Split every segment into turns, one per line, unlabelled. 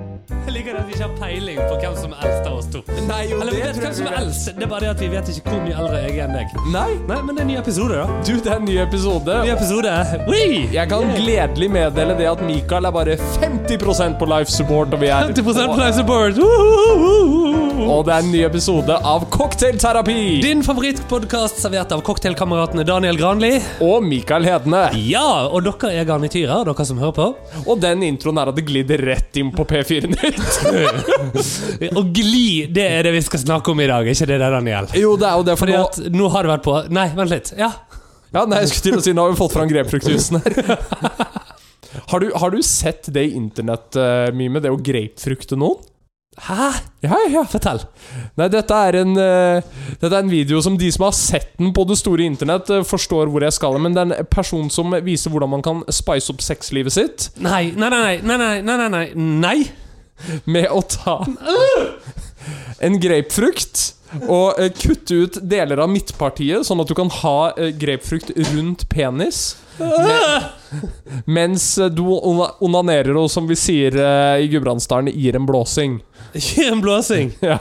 at vi ikke har peiling på hvem som elsker oss to.
Nei, jo,
Eller vi
det
vet
tror
hvem
jeg
som
vi
er
vet.
eldst. Det er bare det at vi vet ikke hvor mye eldre jeg er enn deg.
Nei,
Nei, men det er en ny episode, da.
du, det er en ny episode.
Ny episode. Wee!
Jeg kan gledelig meddele det at Mikael er bare 50 på life support, og vi er
50 Place Board. Woohoo!
Og det er en ny episode av Cocktailterapi!
Din favorittpodkast servert av cocktailkameratene Daniel Granli.
Og Mikael Hedne.
Ja, og dere er garnityrer, dere som hører på.
Og den introen her hadde glidd rett inn på P4 Nytt.
Og gli, det er det vi skal snakke om i dag, ikke det der, Daniel?
Jo, det er jo det, for
Fordi
nå
at nå har det vært på Nei, vent litt. Ja.
Ja, nei, jeg skulle til å si Nå har vi fått fram grapefruktjusen her. Har du, har du sett det internett-mimet, det å grapefrukte noen?
Hæ?
Ja, ja.
Fortell.
Nei, dette er, en, eh, dette er en video som de som har sett den på det store internett, eh, forstår hvor jeg skal. Men det er en person som viser hvordan man kan spice opp sexlivet sitt
Nei, nei, nei, nei, nei, nei, nei, nei.
med å ta en grapefrukt og eh, kutte ut deler av midtpartiet, sånn at du kan ha eh, grapefrukt rundt penis.
nei.
Mens eh, du ona- onanerer og som vi sier eh, i Gudbrandsdalen, gir en blåsing.
Gir en blåsing.
Ja,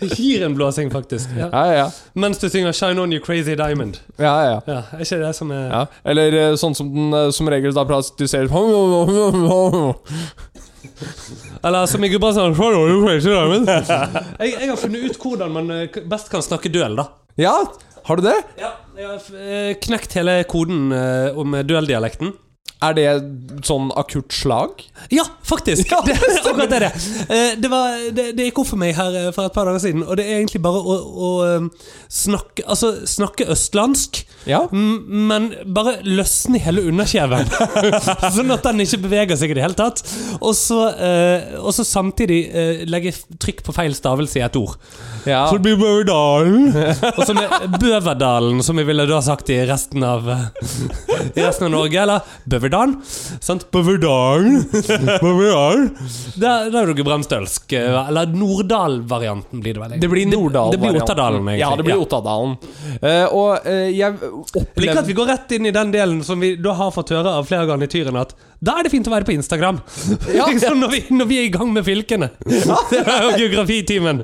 Gir en blåsing, faktisk. Ja.
ja, ja.
Mens du synger 'Shine On You Crazy Diamond'.
ja, ja.
Ja, Er ikke det som er
ja. Eller eh, sånn som den eh, som regel da praktiserer Ja,
Eller som i Gudbrandsdalen 'Shine On You Crazy Diamond'. jeg, jeg har funnet ut hvordan man eh, k- best kan snakke duell, da.
har du det?
Ja, Jeg har f- eh, knekt hele koden eh, om duelldialekten.
Er det sånn akutt slag?
Ja, faktisk!
Ja,
det, er akkurat det er det. Eh, Det, var, det, det gikk opp for meg her eh, for et par dager siden, og det er egentlig bare å, å eh, snakke Altså, snakke østlandsk.
Ja.
Mm, Men bare løsne i hele underkjeven, sånn at den ikke beveger seg i det hele tatt. Og så, eh, og så samtidig eh, legge f- trykk på feil stavelse i et ord.
ja.
Så det blir Bøverdalen. Og som er Bøverdalen, som vi ville da sagt i resten av eh, I resten av Norge. Eller Bøverdalen. Sant? Bøverdalen. Bøverdalen. Der, der er du gudbrandsdølsk. eh, Eller Norddal-varianten blir det vel. egentlig.
Det blir Norddal.
det blir Otterdalen, egentlig.
Ja, det blir
Ja.
Otterdalen. Eh, og eh, jeg
Jeg liker at
opplevde
vi går rett inn i den delen som vi da har fått høre av flere garnityren at da er det fint å være på Instagram.
Ja.
liksom når, vi, når vi er i gang med fylkene. Det er jo geografitimen.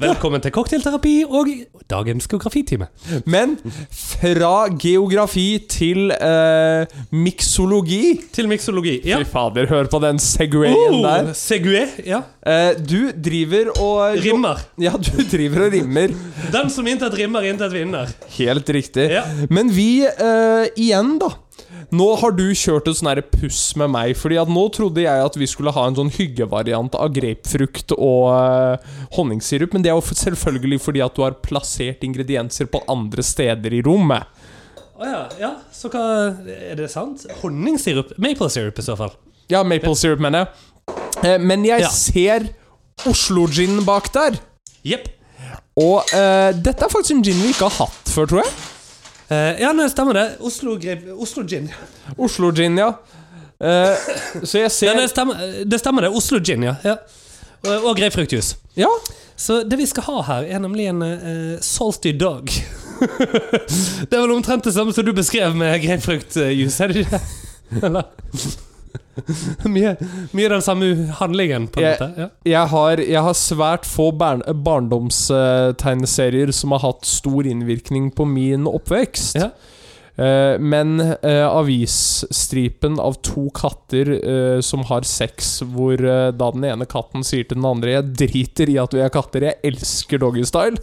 Velkommen til cocktailterapi og dagens geografitime.
Men fra geografi til eh, miksologi
Til miksologi. Ja.
Fy fader, hør på den segwayen der.
Oh, Segway. Ja.
Eh, du driver og
Rimmer.
Ja, du driver og rimmer.
Den som intet rimmer, intet vinner.
Helt riktig.
Ja.
Men vi, eh, igjen, da. Nå har du kjørt et sånn her puss med meg, Fordi at nå trodde jeg at vi skulle ha en sånn hyggevariant av grapefrukt og eh, honningsirup, men det er jo f- selvfølgelig fordi at du har plassert ingredienser på andre steder i rommet.
Å ja. ja. Så hva Er det sant? Honningsirup? Maple syrup, i så fall.
Ja, maple syrup, mener jeg. Eh, men jeg
Ja.
ser Oslo-ginen bak der.
Jepp.
Og eh, dette er faktisk en gin vi ikke har hatt før, tror jeg.
Eh, ja, nei, stemmer det. Oslo, grape- Oslo gin.
Oslo gin, ja. Eh, så jeg
Ja,
ser
det, stemmer, eh, det stemmer det. Oslo gin, ja. ja. Og, og grapefruktjuice.
Ja,
Så det vi skal ha her, er nemlig en eh, salty dog. det er vel omtrent det samme som du beskrev med grapefruktjuice, er det ikke? det? Eller? mye, mye den samme handlingen, på en
Jeg-
måte. Ja.
jeg har, jeg har svært få barndomstegneserier som har hatt stor innvirkning på min oppvekst.
Ja.
Eh, men eh, avisstripen av to katter eh, som har sex, hvor eh, da den ene katten sier til den andre 'Jeg driter i at vi er katter, jeg elsker doggystyle',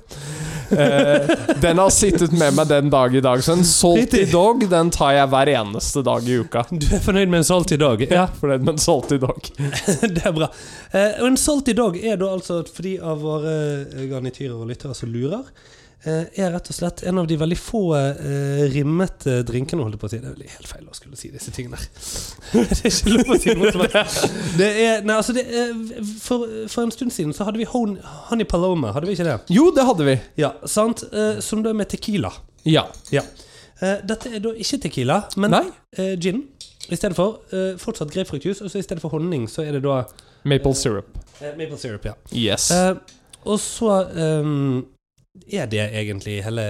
eh, den har sittet med meg den dag i dag. Så en salty
Riktig.
dog den tar jeg hver eneste dag i uka.
Du er fornøyd med en salty dog? Ja,
For den med en salty dog.
det er bra. Eh, og en salty dog er da altså at for de av våre eh, garnityrer og lyttere som lurer, eh, er rett og slett en av de veldig få eh, rimmete drinkene, holdt jeg på å si. Det er vel helt feil å skulle si disse tingene der. det er ikke lov å si noe som helst. Det er, nei, altså det er, for, for en stund siden så hadde vi Hon- Honey Paloma, hadde vi ikke det?
Jo, det hadde vi.
Ja, sant? Eh, som da er med tequila.
Ja.
Ja. Eh, dette er da ikke tequila, men
Nei.
eh, gin. I stedet for eh, fortsatt grapefruktjuice, og så i stedet for honning, så er det da
Maple syrup.
eh, maple syrup. ja.
Yes.
Eh, og så eh, er det ehm, egentlig hele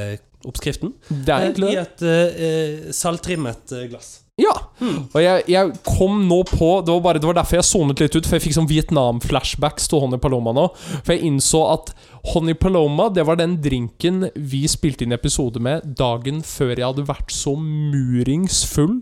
oppskriften.
Det er
eh,
egentlig
I
det.
et eh, eh, saltrimmet eh, glass.
Ja.
Hmm.
Og jeg, jeg kom nå på Det var, bare, det var derfor jeg sonet litt ut, for jeg fikk sånn Vietnam-flashbacks til Honey Paloma nå. For jeg innså at Honey Paloma det var den drinken vi spilte inn episode med dagen før jeg hadde vært så murings full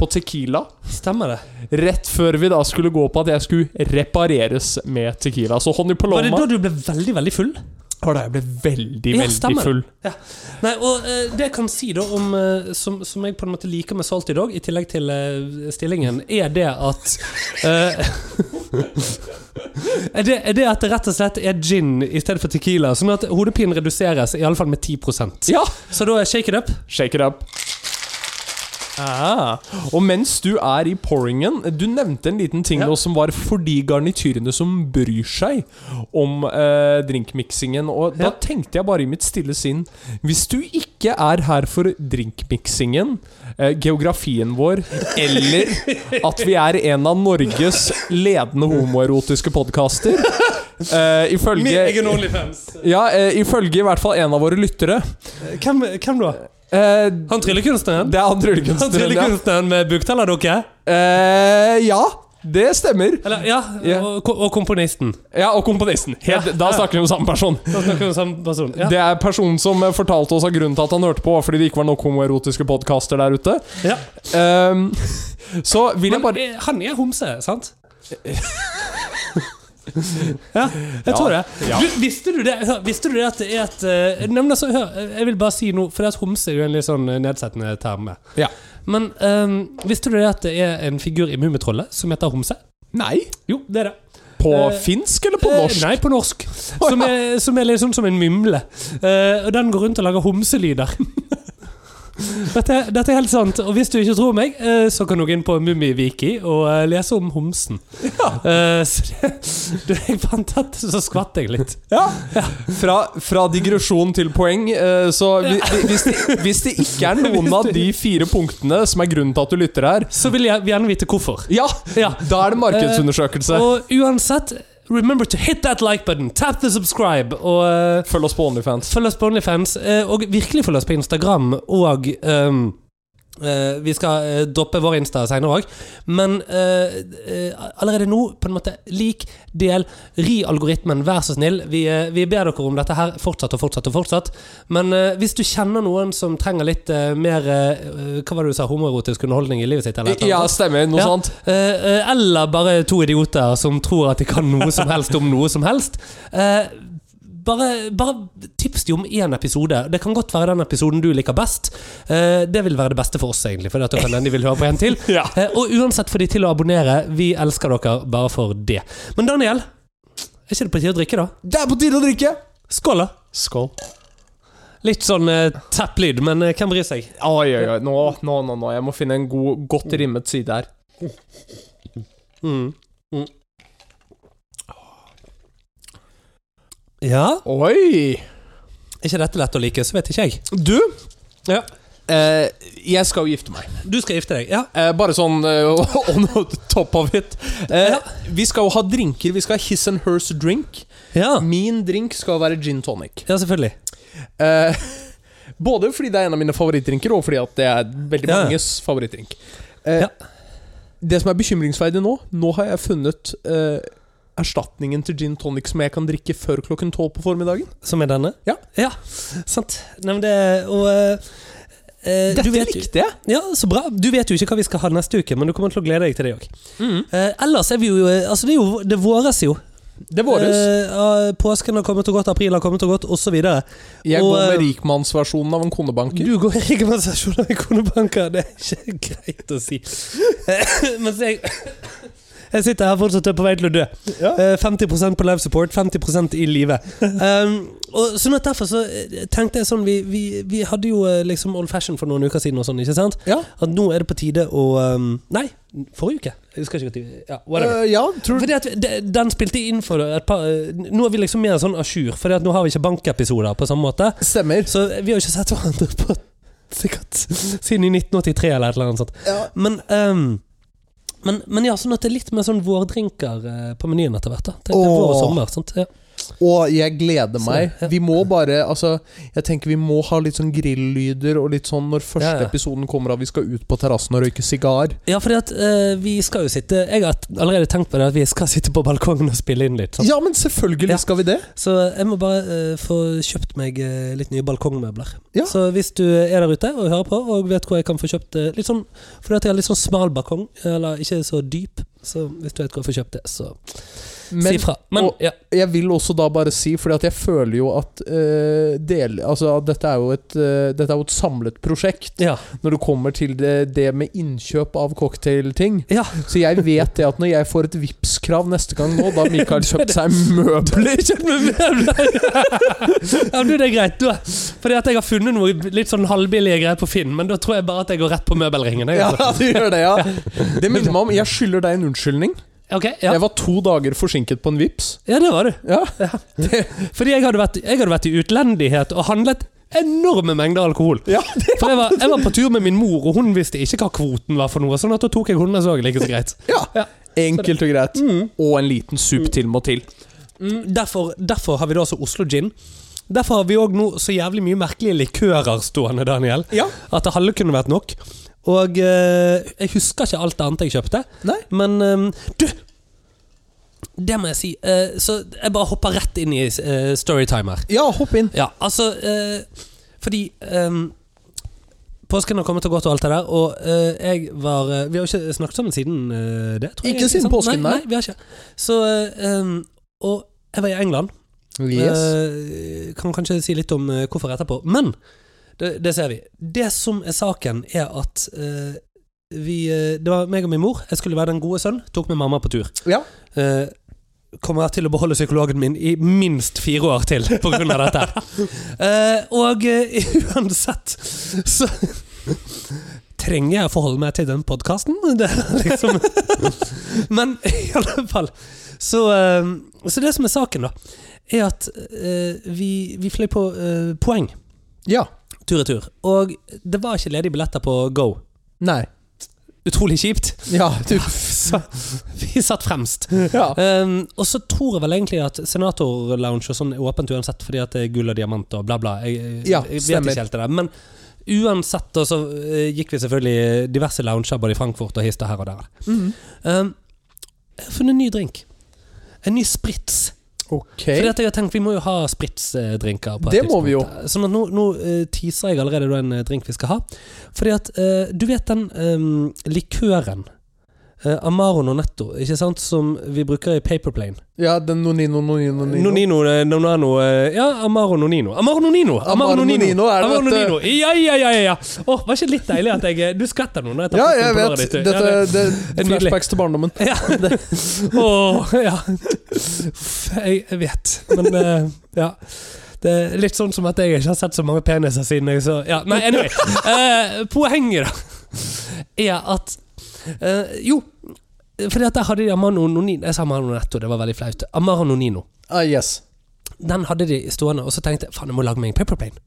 på Tequila.
Stemmer det?
Rett før vi da skulle gå på at jeg skulle repareres med Tequila. Så Honey
Var det
Paloma
da du ble veldig, veldig full?
var da jeg ble veldig,
Ja, stemmer.
veldig full.
Nei, og eh, det jeg kan si da om eh, som, som jeg på en måte liker med salt i dag, i tillegg til eh, stillingen, er det at eh, er, det, er det at det rett og slett er gin i stedet for tequila. Sånn at hodepinen reduseres i alle fall med 10
Ja!
Så da er shake it up.
Shake it up. Ah. Og mens du er i pouringen Du nevnte en liten ting
Ja.
nå som var for de garnityrene som bryr seg om eh, drinkmiksingen. Og da
Ja.
tenkte jeg bare i mitt stille sinn Hvis du ikke er her for drinkmiksingen, eh, geografien vår, eller at vi er en av Norges ledende homoerotiske podkaster eh, Ifølge
Onlyfans.
ja, eh, ifølge i hvert fall en av våre lyttere.
Hvem, hvem da?
Eh,
Han tryllekunstneren?
det er han
Han
tryllekunstneren. ja.
tryllekunstneren med buktalerdukke?
Eh, ja, det stemmer.
Eller, ja,
Ja.
Og, og komponisten.
Ja, Og komponisten. Helt,
Ja.
Da snakker vi om samme person.
Da snakker vi om samme person. Ja.
Det er personen som eh, fortalte oss av grunnen til at han hørte på, var fordi det ikke var nok homoerotiske podkaster der ute.
Ja.
Ehm, så vil
Men,
jeg bare
eh, han er homse, sant? ja, jeg tror det.
Ja.
Du, visste, du det hør, visste du det at det er et eh, nei, men altså, hør, eh, Jeg vil bare si noe, for det at homse er jo en litt sånn eh, nedsettende term.
Ja.
Men eh, visste du det at det er en figur i Mummitrollet som heter Homse?
Nei.
Jo, det er det.
På
Eh,
finsk eller på norsk?
Eh, Nei, på norsk.
Å,
Som
ja.
er, som er litt sånn som en mimle. Eh, og den går rundt og lager homselyder. Dette, dette er helt sant, og hvis du ikke tror meg, eh, så kan du gå inn på Mummiviki og eh, lese om homsen. Eh, så det, da jeg fant dette, så skvatt jeg litt.
Ja. Fra, fra digresjon til poeng. eh, Så vi- vi- hvis det, hvis det ikke er noen av de fire punktene som er grunnen til at du lytter her,
Så vil jeg gjerne vite hvorfor.
ja, Eh,
Ja.
da er det markedsundersøkelse.
Og uansett, remember to hit that like button, tap the subscribe, og eh,
Følg oss på Onlyfans.
Følg oss på OnlyFans, eh, og virkelig følg oss på Instagram. Og ehm, eh, vi skal eh, droppe vår Insta senere òg. Men eh, eh, allerede nå, på en måte, lik, del, ri algoritmen, vær så snill. Vi, eh, vi ber dere om dette her fortsatt og fortsatt og fortsatt. Men eh, hvis du kjenner noen som trenger litt eh, mer eh, Hva var det du sa? Homoerotisk underholdning i livet sitt? Eller et eller
Ja,
annet?
stemmer. Noe
Ja.
sånt.
Eh, eh, eller bare to idioter som tror at de kan noe som helst om noe som helst. Eh, bare, bare tips de om én episode. Det kan godt være den episoden du liker best. Eh, det vil være det beste for oss, egentlig. For det kan hende de vil høre på en til.
Ja.
Eh, og uansett får de til å abonnere. Vi elsker dere bare for det. Men Daniel, er ikke det på tide å drikke, da?
Det er på tide å drikke!
Skål, da!
Skål.
Litt sånn eh, tepplyd, men eh, hvem bryr seg?
Oi, oi, oi. Nå, nå, nå, nå. Jeg må finne en god, godt rimmet side her.
Ja,
Oi!
Er ikke dette lett å like, så vet ikke jeg.
Du,
Ja.
eh, jeg skal jo gifte meg.
Du skal gifte deg? Ja.
Eh, bare sånn eh, on the top of it. Eh,
Ja.
Vi skal jo ha drinker. Vi skal ha his and hers drink.
Ja,
Min drink skal være gin tonic.
ja selvfølgelig.
Eh, både fordi det er en av mine favorittdrinker, og fordi at det er veldig
Ja.
manges favorittdrink. Eh,
Ja.
Det som er bekymringsverdig nå Nå har jeg funnet eh, erstatningen til gin tonic som jeg kan drikke før klokken tolv på formiddagen.
Som er denne?
Ja.
ja sant. Nei, men det Og eh,
Dette
du vet, jo-
likte jeg!
Ja, så bra. Du vet jo ikke hva vi skal ha neste uke, men du kommer til å glede deg til det òg. Eh, ellers er vi jo eh, Altså, det er jo Det våres jo.
Det våres.
Eh, ah, påsken har kommet og gått, april har kommet og gått, osv.
jeg
og,
går med
eh,
rikmannsversjonen av en konebanker.
Du går i rekommendasjon av konebanker, det er ikke greit å si. Eh, Mens jeg Jeg sitter her fortsatt og er på vei til å dø.
Ja.
Eh, 50 på live support, 50 i live. Um, og sånn at Derfor så eh, tenkte jeg sånn Vi, vi, vi hadde jo eh, liksom old fashion for noen uker siden, og sånn, ikke sant?
Ja.
At nå er det på tide å um, Nei, forrige uke. Jeg husker ikke når. Ja, whatever.
Eh, ja, tror du
Fordi at de- Den spilte inn for et par eh, Nå er vi liksom mer sånn à jour, for nå har vi ikke bankepisoder på samme måte.
Stemmer.
Så vi har ikke sett hverandre på sikkert siden i 1983 eller et eller annet sånt.
Ja.
Men, ehm, men, men ja, sånn at det er litt mer sånn vårdrinker eh, på menyen etter hvert. da Det, det er
Åh.
vår og sommer. Sant? Ja.
Og jeg gleder meg.
Så, ja.
Vi må bare altså, Jeg tenker vi må ha litt sånn grilllyder og litt sånn når første
Ja, ja.
episoden kommer av vi skal ut på terrassen og røyke sigar.
Ja, fordi at eh, vi skal jo sitte Jeg har allerede tenkt på det at vi skal sitte på balkongen og spille inn litt. Sant?
Ja, men selvfølgelig
Sånn. Ja.
skal vi det!
Så jeg må bare eh, få kjøpt meg eh, litt nye balkongmøbler.
Ja.
Så hvis du er der ute og hører på og vet hvor jeg kan få kjøpt eh, litt sånn Fordi at jeg har litt sånn smal balkong, eller ikke så dyp, så hvis du vet hvor jeg får kjøpt det, så
Men
si fra. Men
og-
ja.
jeg vil også da bare si, fordi at jeg føler jo at eh, del, altså, at dette, er jo et, eh, dette er jo et samlet prosjekt
Ja.
når det kommer til det, det med innkjøp av cocktailting.
ja.
Så jeg vet det at når jeg får et Vipps-krav neste gang nå, da har Mikael kjøpt seg møbler
Kjøpt meg møbler! ja, men du, det er greit, du. Fordi at jeg har funnet noe litt sånn halvbillige greier på Finn, men da tror jeg bare at jeg går rett på møbelringen. jeg,
Ja,
altså.
du gjør det, ja. Det minner meg om Jeg skylder deg en unnskyldning.
Ok, ja.
Jeg var to dager forsinket på en Vipps.
ja, det var du.
Ja.
Fordi jeg hadde vært, jeg hadde vært i utlendighet og handlet enorme mengder alkohol.
Ja,
For jeg var, jeg var på tur med min mor, og hun visste ikke hva kvoten var for noe. Sånn at da tok jeg hundene så like så greit. Ja.
Enkelt og greit.
Mm.
Og en liten sup til må til.
Derfor, derfor har vi da også Oslo Gin. Derfor har vi òg nå så jævlig mye merkelige likører stående, Daniel.
Ja.
At det halve kunne vært nok. Og eh, jeg husker ikke alt annet jeg kjøpte.
Nei.
Men ehm, du! Det må jeg si. Eh, så jeg bare hopper rett inn i eh, storytime her.
Ja, hopp inn.
Ja, altså eh, Fordi eh, Påsken har kommet og gått og alt det der, og eh, jeg var eh, Vi har jo ikke snakket sammen siden eh, det, tror jeg.
Ikke siden
sant?
påsken,
nei.
nei.
nei vi har ikke. Så eh, em, Og jeg var i England. Eh, kan kanskje si litt om eh, hvorfor etterpå. Men det, det ser vi. Det som er saken, er at eh, vi eh, Det var meg og min mor. Jeg skulle være den gode sønn. Tok med mamma på tur.
Ja.
Eh, kommer jeg til å beholde psykologen min i minst fire år til pga. dette. Eh, og eh, uansett så trenger jeg å forholde meg til den podkasten. Liksom. Men i alle fall så, eh, så det som er saken, da, er at eh, vi, vi fløy på eh, poeng
ja.
tur-retur. Og det var ikke ledige billetter på Go.
Nei.
Utrolig kjipt.
Ja, du
Så vi satt fremst.
ja.
Um, og så tror jeg vel egentlig at senatorlounge og sånn er åpent uansett, fordi at det er gull og diamant og bla, bla. Jeg,
Ja,
jeg vet
stemmer.
ikke helt det der. Men uansett, da, så eh, gikk vi selvfølgelig diverse lounger både i Frankfurt og hist og her og der.
Mhm.
Um, jeg har funnet en ny drink. En ny spritz.
Ok.
Fordi at jeg har tenkt Vi må jo ha spritzdrinker. på et
Det må vi
tidspunkt. Sånn at nå, nå eh, teaser jeg allerede da en eh, drink vi skal ha. Fordi at eh, du vet den eh, likøren eh, Amaro Nonetto, ikke sant, som vi bruker i Paperplane.
Ja, den Nonino, Nonino, Nonino.
Nonino, eh, Nonano eh, Ja, Amaro Nonino. Amaro Nonino!
Amaro Nonino er det,
Amaro
vet du.
Nonino. Ja, ja, ja! ja, ja. Åh, var ikke det litt deilig at jeg eh, Du skvetter nå når jeg tar
Ja,
pusten på
jeg vet.
låret ditt, du.
Dette
Ja,
det
er
er
nydelig.
flashbacks til barndommen.
ja. Åh, ja. Uff, Jeg, jeg vet, men eh, ja. Det er litt sånn som at jeg ikke har sett så mange peniser siden jeg så ja, Nei, anyway. Eh, poenget, da, er at eh, Jo, fordi at der hadde de Amano Nonino Jeg sa Amano Netto, det var veldig flaut. Amaro Nonino.
Ah, yes.
Den hadde de stående, og så tenkte jeg faen, jeg må lage meg en paperplane.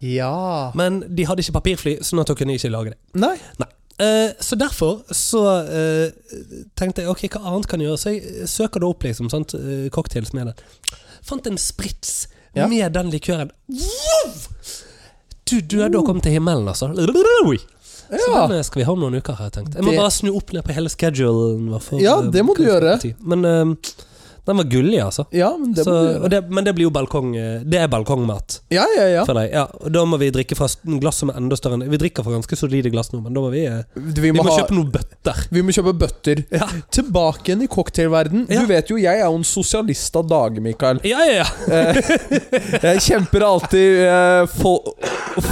Ja
Men de hadde ikke papirfly, sånn at da kunne jeg ikke lage det.
Nei.
Eh, så derfor så eh, tenkte jeg ok, hva annet kan jeg gjøre? Så jeg søker det opp, liksom. Sant? eh, cocktails med det. Fant en sprits
Ja.
med den likøren. Wow! Du døde og kom til himmelen, altså. Så
Ja.
den eh, skal vi ha om noen uker, har jeg tenkt. Jeg må
Det-
bare snu opp ned på hele schedulen. vår for,
Ja,
eh,
det må du gjøre.
Men eh, den var gullig, altså.
Ja, men det
så,
må du gjøre.
og det, men det blir jo balkong eh, Det er balkongmat
Ja, ja, ja.
for deg. Ja, og da må vi drikke fra s- glass som er enda større enn Vi drikker fra ganske solide glass nå, men da må vi eh,
Vi
Vi
må,
må
ha,
kjøpe noen bøtter.
vi må kjøpe bøtter.
Ja.
Tilbake igjen i cocktailverden
Ja.
Du vet jo, jeg er jo en sosialist av dage, Mikael.
Ja, ja, ja.
Eh, Jeg kjemper alltid eh, fol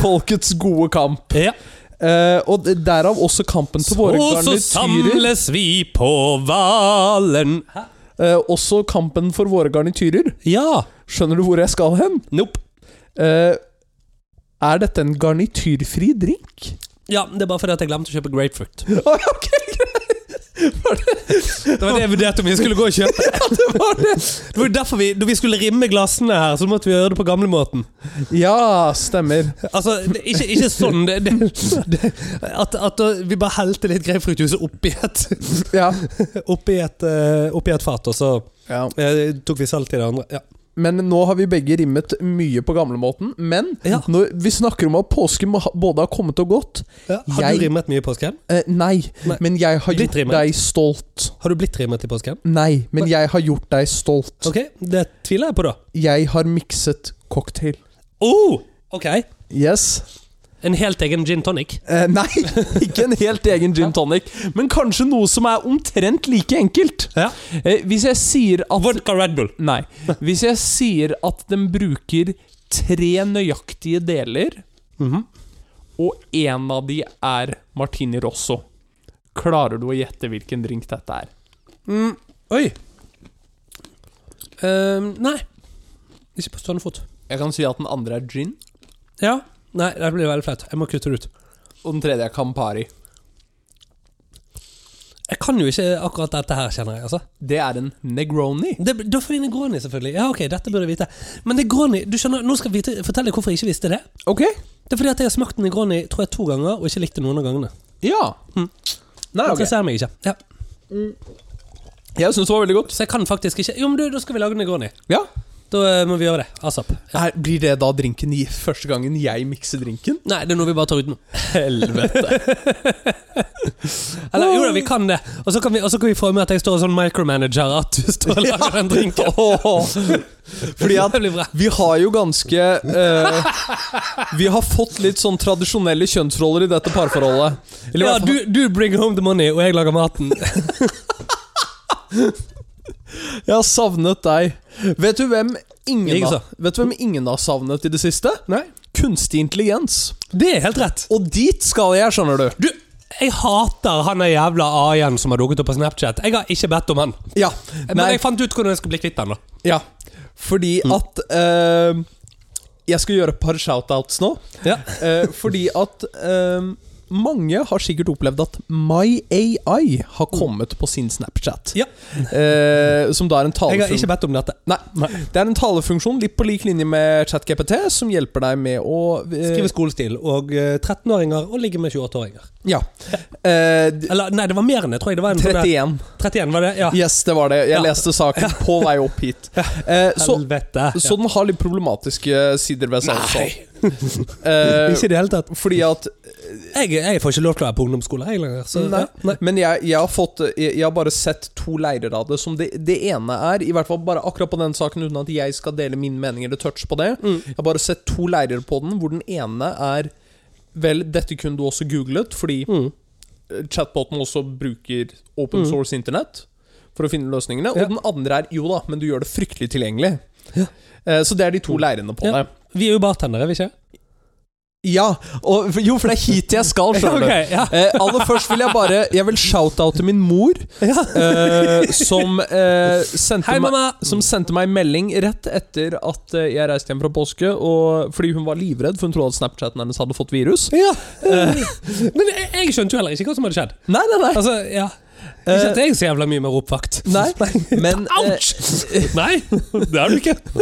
folkets gode kamp. Eh, og det- derav også kampen til våre
Og så
garnityrer.
samles vi på Hvalen.
Eh, også kampen for våre garnityrer.
Ja.
Skjønner du hvor jeg skal hen?
Nope.
Eh, er dette en garnityrfri drink?
Ja, det er bare fordi at jeg glemte å kjøpe grapefruit.
Ah, ok,
Det var det jeg vurderte om vi skulle gå og kjøpe.
det var det.
Det var jo derfor vi, Da vi skulle rimme glassene her, så måtte vi gjøre det på gamlemåten.
Ja, stemmer.
Altså, det, ikke, ikke sånn det, det, det, at, at vi bare helte litt grapefruktjuice oppi et,
Ja.
oppi, et, eh, oppi et fat, og så
ja.
eh, tok vi salt i det andre. Ja.
Men nå har vi begge rimmet mye på gamlemåten. Men
Ja.
når vi snakker om at påsken må ha- både har kommet og gått
Ja, har
Jeg-
du rimet mye i påsken?
eh, nei,
Nei.
men jeg har
Blitt
gjort
rimmet.
deg stolt.
Har du blitt rimet i påsken?
Nei, men
Nei.
jeg har gjort deg stolt.
Ok, det tviler jeg på, da.
Jeg har mikset cocktail.
Oh, ok.
Yes.
En helt egen gin tonic.
Eh, nei,
Ikke en helt egen gin tonic, men kanskje noe som er omtrent like enkelt.
Ja.
Eh, hvis jeg sier at
Vodka Red Bull.
Nei. Hvis jeg sier at den bruker tre nøyaktige deler, og én av de er Martini Rosso, klarer du å gjette hvilken drink dette er?
Mm, oi. Ehm, nei. Ikke på stående fot.
Jeg kan si at den andre er gin,
Ja. Nei, det blir veldig flaut. Jeg må kutte det ut.
og den tredje er Campari.
Jeg kan jo ikke akkurat dette her, kjenner jeg. altså
Det er en Negroni.
det, Da får vi Negroni, selvfølgelig. Ja, ok, dette burde jeg vite. Men Negroni, du skjønner, nå skal jeg vite, fortelle hvorfor jeg ikke visste det.
ok.
Det er fordi at jeg har smakt Negroni tror jeg, to ganger og ikke likt det noen av gangene.
Ja.
Mm.
Nei,
Det
ok.
interesserer meg ikke. Ja.
Jeg syns det var veldig godt.
Så jeg kan faktisk ikke Jo, men du, da skal vi lage Negroni.
Ja.
Da eh, må vi gjøre det. Asap. Ja.
Er, blir det da drinken i første gangen jeg mikser drinken?
Nei, det er noe vi bare tar utenom.
Helvete.
Eller jo da, vi kan det. Og så kan vi, og så kan vi få med at jeg står og sånn micromanager at du står og lager den drinken.
Fordi at
det blir bra.
vi har jo ganske eh, Vi har fått litt sånn tradisjonelle kjønnsroller i dette parforholdet. Eller i
Ja,
hvert
du,
fall-
du bring home the money, og jeg lager maten.
Jeg har savnet deg. Vet du hvem ingen,
Likeså.
har, vet du hvem ingen har savnet i det siste?
Nei.
Kunstig intelligens.
Det er helt rett.
Og dit skal jeg, skjønner du.
Du, jeg hater han der jævla AI-en som har dukket opp på Snapchat. Jeg har ikke bedt om han.
Ja.
Men
Nei,
jeg Mm. fant ut hvordan jeg skal bli kvitt han, da.
ja. Fordi at eh, Jeg skal gjøre et par shoutouts nå.
Ja.
Eh, fordi at eh, mange har sikkert opplevd at MyAI har kommet på sin Snapchat.
Ja.
Eh, som da er en
Jeg har
talefun-
ikke bedt om dette.
Nei, Det er en talefunksjon litt på lik linje med ChatGPT, som hjelper deg med å eh,
Skrive skolestil og eh, 13-åringer og ligge med 28-åringer.
Ja. Eh, d-
Eller nei, det var mer enn det, tror jeg. Det var en sånn der-
31.
31, var det? Ja.
Yes, det var det.
Ja.
Jeg leste saken på vei opp hit. Eh, så,
Helvete.
så den har litt problematiske sider ved seg
Nei,
også. Eh,
ikke i det hele tatt.
fordi at
Jeg, jeg får ikke lov til å være på ungdomsskole, jeg lenger. Så,
Nei.
ja, nei.
Men jeg, jeg har fått jeg, jeg har bare sett to leirer av det. Som det, det ene er, i hvert fall bare akkurat på den saken, uten at jeg skal dele min mening eller touche på det. Jeg har bare sett to leirer på den, hvor den ene er Vel, dette kunne du også googlet, fordi
Mm.
eh, chatboten også bruker open
Mm.
source internett for å finne løsningene.
Ja.
Og den andre er jo da, men du gjør det fryktelig tilgjengelig.
Ja.
Eh, Så det er de to leirene på
Ja.
det.
Vi er jo bartendere, er vi ikke?
Ja, og, jo, for det er hit jeg skal, skjønner du.
Ok, ja.
Eh, aller først vil jeg bare Jeg vil shout-oute min mor, eh, som, eh, sendte
Hei,
meg,
mamma!
som sendte meg melding rett etter at eh, jeg reiste hjem fra påske, og, fordi hun var livredd, for hun trodde at Snapchaten hennes hadde fått virus.
Ja. Eh, Men jeg, jeg skjønte jo heller ikke hva som hadde skjedd.
Nei, nei, nei.
Altså, ja Ikke at jeg er så jævla mye med ropvakt.
Nei, men, eh,
Ouch! Nei, det er du ikke.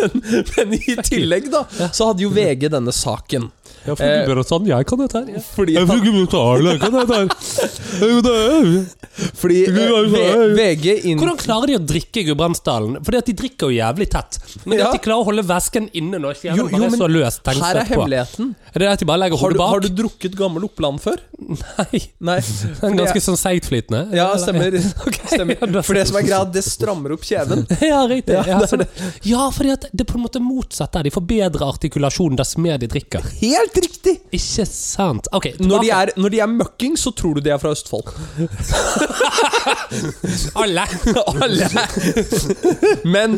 men i tillegg, da, så hadde jo VG denne saken.
Ja, for
du
bør sånn. Jeg kan dette her.
Fordi, at- fordi eh, V- VG inn...
Hvordan klarer de å drikke i Gudbrandsdalen? Fordi at de drikker jo jævlig tett. Men
Ja.
at de klarer å holde væsken inne når kjeven
Jo, jo,
bare er
men
så løst tenkt
Her er
på.
hemmeligheten.
Er det at de bare legger
Har
hodet
du,
bak?
har du drukket gammel Oppland før?
Nei.
Nei.
Den er ganske sånn seigtflytende.
Ja, stemmer.
Ok,
stemmer.
ja, da-
For det som er greia, det strammer opp kjeven.
Ja, riktig. Ja,
Ja, det er
sånn. ja, fordi at det er på en måte motsatt der. De får bedre artikulasjon dess mer de drikker.
Helt riktig!
Ikke sant. Ok,
Når de,
tilbake.
er, når de er møkking, så tror du de er fra Østfold.
Alle!
Alle! Men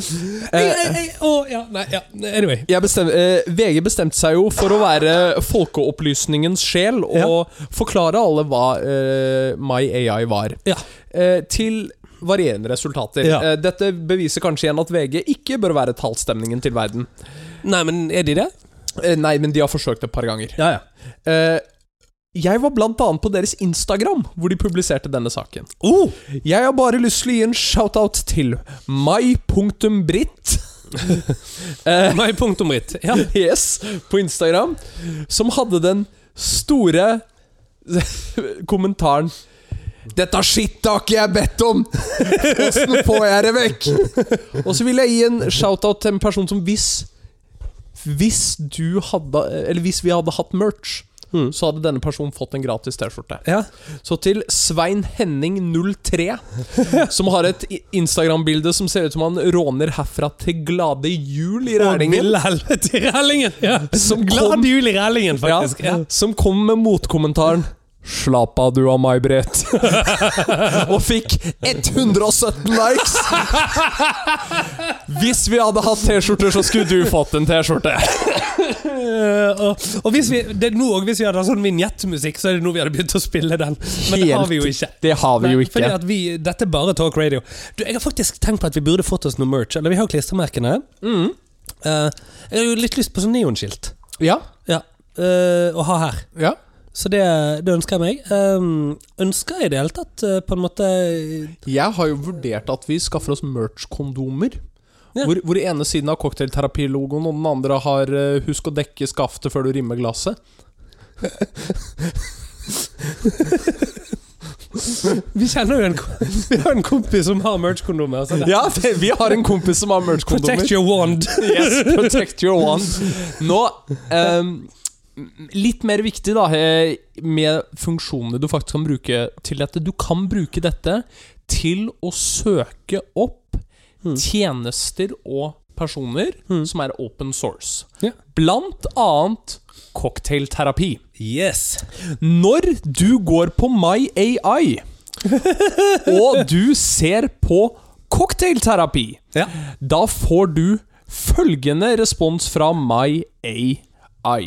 Ei,
eh,
ei, ei, å, ja, nei, ja. Anyway.
jeg bestem, eh, VG bestemte seg jo for å være folkeopplysningens sjel og forklare alle hva eh, My AI var.
Ja.
Eh, til varierende resultater.
Ja.
Eh, dette beviser kanskje igjen at VG ikke bør være tallstemningen til verden.
Nei, men er de det?
Eh, nei, men de har forsøkt et par ganger.
Ja, ja.
Eh, jeg var blant annet på deres Instagram, hvor de publiserte denne saken.
Oh,
Jeg har bare lyst til å gi en shout-out til um mai.britt. eh,
nei, punktum ritt. Ja.
yes, på Instagram. Som hadde den store kommentaren Dette skittet har ikke jeg bedt om! Åssen får jeg det vekk? Og så vil jeg gi en shout-out til en person som hvis Hvis du hadde Eller hvis vi hadde hatt merch,
Mm.
så hadde denne personen fått en gratis T-skjorte.
Ja.
Så til Svein Henning 03, som har et i- Instagram-bilde som ser ut som han råner herfra til glade jul i
Og
Rælingen.
ville helvete i rælingen! Ja.
Som
Glad
kom-
jul i rælingen, faktisk. Ja.
Ja, som kom med motkommentaren Slapp av du av meg, Brett. og fikk 117 likes! Hvis vi hadde hatt T-skjorter, så skulle du fått en T-skjorte.
Eh, og, og hvis vi, det er nå også, hvis vi hadde hatt sånn vignettmusikk, så er det nå vi hadde begynt å spille den. Men det har vi jo ikke.
Det har vi jo
Nei, Fordi
ikke.
at vi, dette er bare talk radio. Du, jeg har faktisk tenkt på at vi burde fått oss noe merch. Eller vi har jo klistremerkene.
Mm.
Eh, jeg har jo litt lyst på sånn neonskilt
Ja,
ja. eh, å ha her.
ja.
Så det, det ønsker jeg meg. Um, ønsker jeg i det hele tatt eh, på en måte
Jeg har jo vurdert at vi skaffer oss merch-kondomer.
Ja.
Hvor, hvor ene siden har cocktailterapilogoen, og den andre har eh, 'husk å dekke skaftet før du rimmer glasset'.
Vi kjenner jo en, ko- vi har en kompis som har merch-kondomer. så det-
Ja, vi har en kompis som har merch-kondomer.
Protect your wand.
Yes, protect your one. Nå ehm, Litt mer viktig, da, eh, med funksjonene du faktisk kan bruke til dette. Du kan bruke dette til å søke opp tjenester og personer som er open source.
Ja.
Blant annet cocktailterapi.
Yes.
Når du går på My AI og du ser på cocktailterapi,
Ja.
da får du følgende respons fra My AI.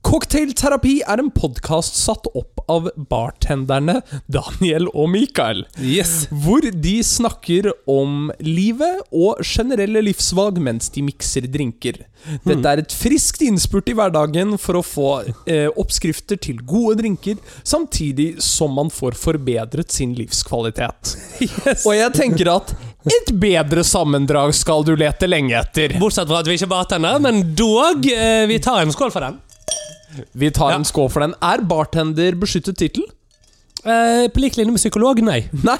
Cocktailterapi er en podkast satt opp av bartenderne Daniel og Mikael.
Yes.
Hvor de snakker om livet og generelle livsvalg mens de mikser drinker. Dette er et friskt innspurt i hverdagen for å få eh, oppskrifter til gode drinker, samtidig som man får forbedret sin livskvalitet. Og jeg tenker at et bedre sammendrag skal du lete lenge etter.
Bortsett fra at vi ikke bartender, men dog. eh, vi tar en skål for den.
Vi tar
Ja.
en skål for den. Er bartender beskyttet tittel?
Eh, på lik linje med psykolog, nei.
Nei,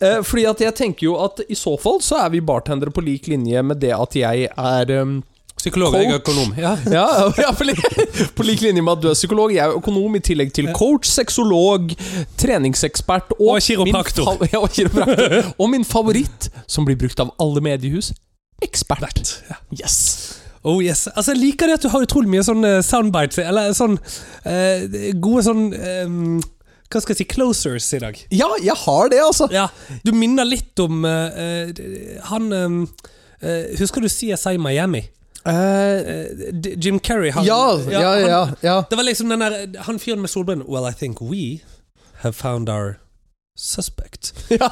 eh, fordi at jeg tenker jo at i så fall så er vi bartendere på lik linje med det at jeg er eh,
Psykolog
og jeg er
økonom. Ja.
Ja, ja på, lik, på lik linje med at du er psykolog, jeg er økonom i tillegg til coach, sexolog, treningsekspert og,
Og kiropraktor.
min fa- Ja, og, kiropraktor. og min favoritt, som blir brukt av alle mediehus, ekspert. Yes.
Oh yes. Altså, jeg liker det at du har utrolig mye sånn eh, soundbites, eller sånn eh, gode sånn eh, Hva skal jeg si closers i dag.
Ja, jeg har det, altså.
Ja, Du minner litt om eh, eh, han eh, eh, Husker du CSI Miami? Eh, D- Jim Carrey har
ja, ja,
han-
ja, ja.
Det var liksom den der Han fyren med solbrillene Well, I think we have found our suspect.
Ja.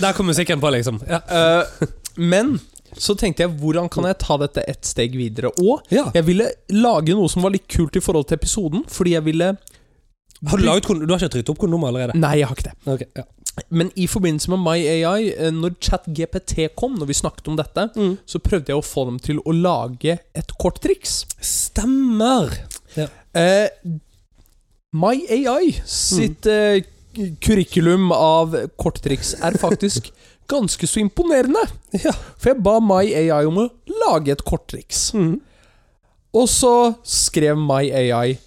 Der kom musikken på, liksom. Ja.
Eh, men så tenkte jeg, hvordan kan jeg ta dette ett steg videre? Og
Ja.
jeg ville lage noe som var litt kult i forhold til episoden, fordi jeg ville
Har du, laget, kon- du har ikke trykt opp kondomer allerede?
Nei, jeg har ikke det.
Mm. Ok, ja.
Men i forbindelse med MyAI, eh, når ChatGPT kom, når vi snakket om dette,
Mm.
så prøvde jeg å få dem til å lage et kort triks.
Stemmer!
Eh, MyAI sitt eh, k- kurrikulum av korttriks er faktisk ganske så imponerende.
Ja.
For jeg ba MyAI om å lage et korttriks.
Mm.
Og så skrev MyAI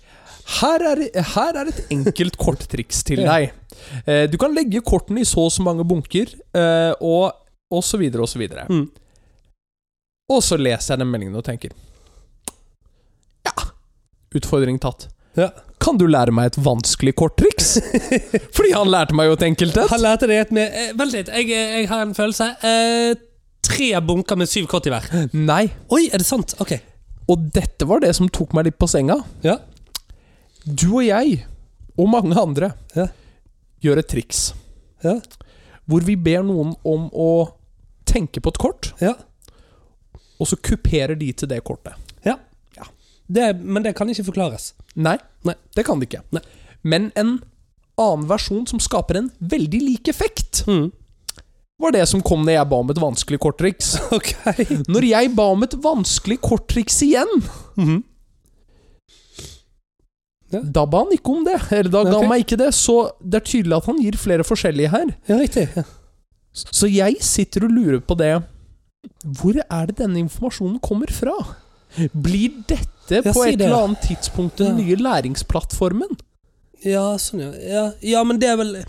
her er, her er et enkelt korttriks til deg. Eh, Du kan legge kortene i så og så mange bunker, eh, og, og så videre og så videre.
Mm.
Og så leser jeg den meldingen og tenker Ja, utfordring tatt.
Ja.
Kan du lære meg et vanskelig korttriks? Fordi han lærte meg jo et enkelt et.
Han lærte det et med eh, Vent litt, jeg, jeg har en følelse. Eh, tre bunker med syv kort i hver.
Nei.
Oi, er det sant? Ok.
Og dette var det som tok meg litt på senga.
Ja.
Du og jeg, og mange andre,
Ja.
gjør et triks.
Ja.
Hvor vi ber noen om å tenke på et kort,
Ja.
og så kuperer de til det kortet.
ja. Det, men det kan ikke forklares.
Nei,
Nei.
det kan de ikke.
Nei.
Men en annen versjon som skaper en veldig lik effekt,
Mm.
var det som kom når jeg ba om et vanskelig korttriks.
Ok.
Når jeg
Mm.
ba om et vanskelig korttriks igjen,
Ja.
Da ba han ikke om det. Eller da ga
Ok.
han meg ikke det. Så det er tydelig at han gir flere forskjellige her.
Ja, riktig. Ja.
Så jeg sitter og lurer på det. Hvor er det denne informasjonen kommer fra? Blir dette
Ja,
på
si
et
det.
eller annet tidspunkt den
Ja.
nye læringsplattformen?
Ja, sånn, ja. ja. Ja, men det er vel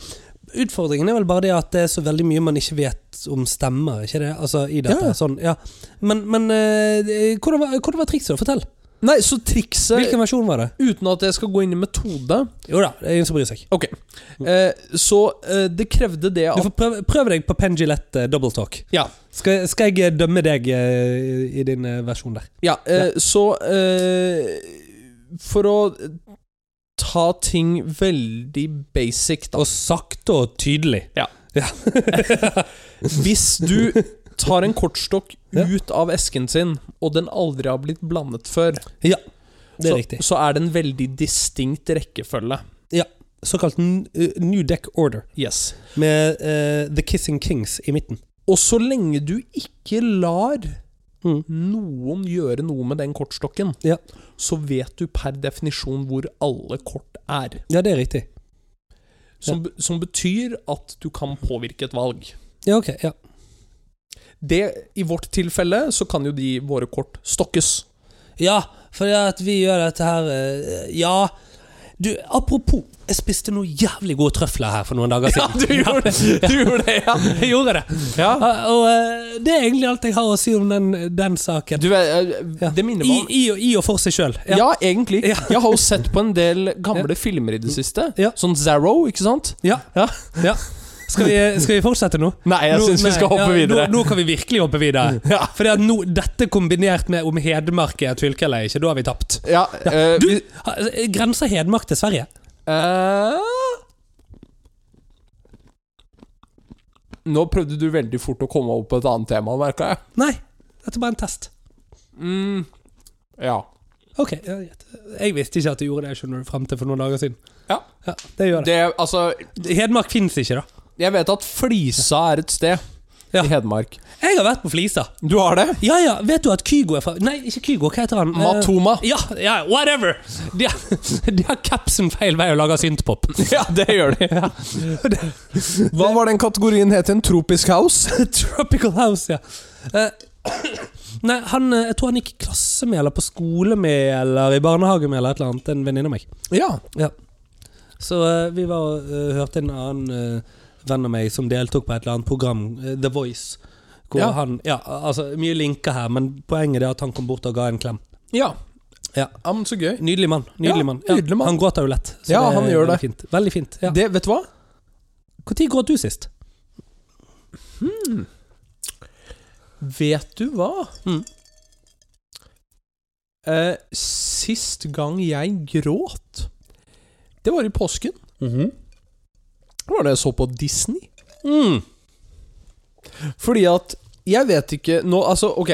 Utfordringen er vel bare det at det er så veldig mye man ikke vet om stemmer, ikke det? Altså, i dette.
Ja.
Sånn, ja. Men, men eh, hvordan var, hvordan var trikset? Fortell.
Nei, så trikset
Hvilken versjon var det?
Uten at jeg skal gå inn i metode
Jo da, det er ingen som bryr seg.
Ok, eh, så eh, det krevde det
Du
at
får prøve, prøve deg på Pen Gillette eh, double talk.
Ja.
Skal, skal jeg eh, dømme deg eh, i din eh, versjon der?
Ja, eh, så eh, For å ta ting veldig basic, da
Og sakte og tydelig.
Hvis du tar en kortstokk
Ja.
ut av esken sin, og den aldri har blitt blandet før,
Det er
så,
riktig.
så er det en veldig distinkt rekkefølge.
Såkalt n- eh, New Deck Order,
Yes.
med eh, The Kissing Kings i midten.
Og så lenge du ikke lar
Mm.
noen gjøre noe med den kortstokken,
Ja.
så vet du per definisjon hvor alle kort er.
Ja, det er riktig.
Som, be- som betyr at du kan påvirke et valg.
Ja, ok. Ja.
Det, I vårt tilfelle så kan jo de våre kort stokkes.
Ja, for at vi gjør dette her eh, Ja. Du, apropos, jeg spiste noen jævlig gode trøfler her for noen dager siden.
det! Du gjorde det, ja.
Jeg gjorde det.
ja.
Og, og eh, det er egentlig alt jeg har å si om den, den saken.
Du, eh,
Ja.
det minner
I,
meg om
i, og- I og for seg sjøl.
ja. egentlig.
Ja.
Jeg har jo sett på en del gamle filmer i det siste.
Ja.
Sånn Zarrow, ikke sant?
Ja.
Ja.
Skal, vi, skal vi fortsette nå?
Nei, jeg
Nå-
syns vi
nei,
skal hoppe
ja,
videre.
Nå, nå kan vi virkelig hoppe videre.
Ja.
Fordi at nå, dette kombinert med om Hedmark er et fylke eller ikke, da har vi tapt.
Ja, eh,
Du,
vi-
ha- Grenser Hedmark til Sverige?
eh, Nå prøvde du veldig fort å komme over på et annet tema, merka jeg.
Nei. Dette er bare en test.
Mm. Ja.
Ok, ja, greit. Jeg visste ikke at du gjorde det skjønner du, frem til for noen dager siden.
Ja.
det gjør det.
Det, altså,
Hedmark fins ikke, da.
jeg vet at Flisa er et sted
Ja.
i Hedmark.
Jeg har vært på Flisa.
Du har det?
Ja ja, vet du at Kygo er fra Nei, ikke Kygo, hva heter han? Eh,
Matoma.
Ja, ja, whatever! De har, de har capsen feil vei og lager synthpop.
Ja, det gjør de. Hva var den kategorien het igjen? Tropisk House?
Tropical House, ja. Eh, nei, han, eh, jeg tror han gikk i klasse med, eller på skole med, eller i barnehage med, eller et eller annet. En venninne av meg.
Ja.
Så eh, vi var, og, eh, hørte en annen eh, venn av meg som deltok på et eller annet program, eh, The Voice. Hvor
Ja.
han, ja, altså Mye linker her, men poenget er at han kom bort og ga en klem.
Ja.
Ja.
men så gøy.
Nydelig mann. Nydelig
Ja,
mann.
nydelig mann.
Han gråter jo lett. så
Ja,
er
han gjør
veldig
det.
Fint. Veldig fint. ja.
Det, vet du hva?
Når gråt du sist?
Vet du hva?
Mm.
Eh, sist gang jeg gråt, det var i påsken.
Mhm.
Det var da jeg så på Disney.
Mm.
Fordi at Jeg vet ikke nå, Altså, ok.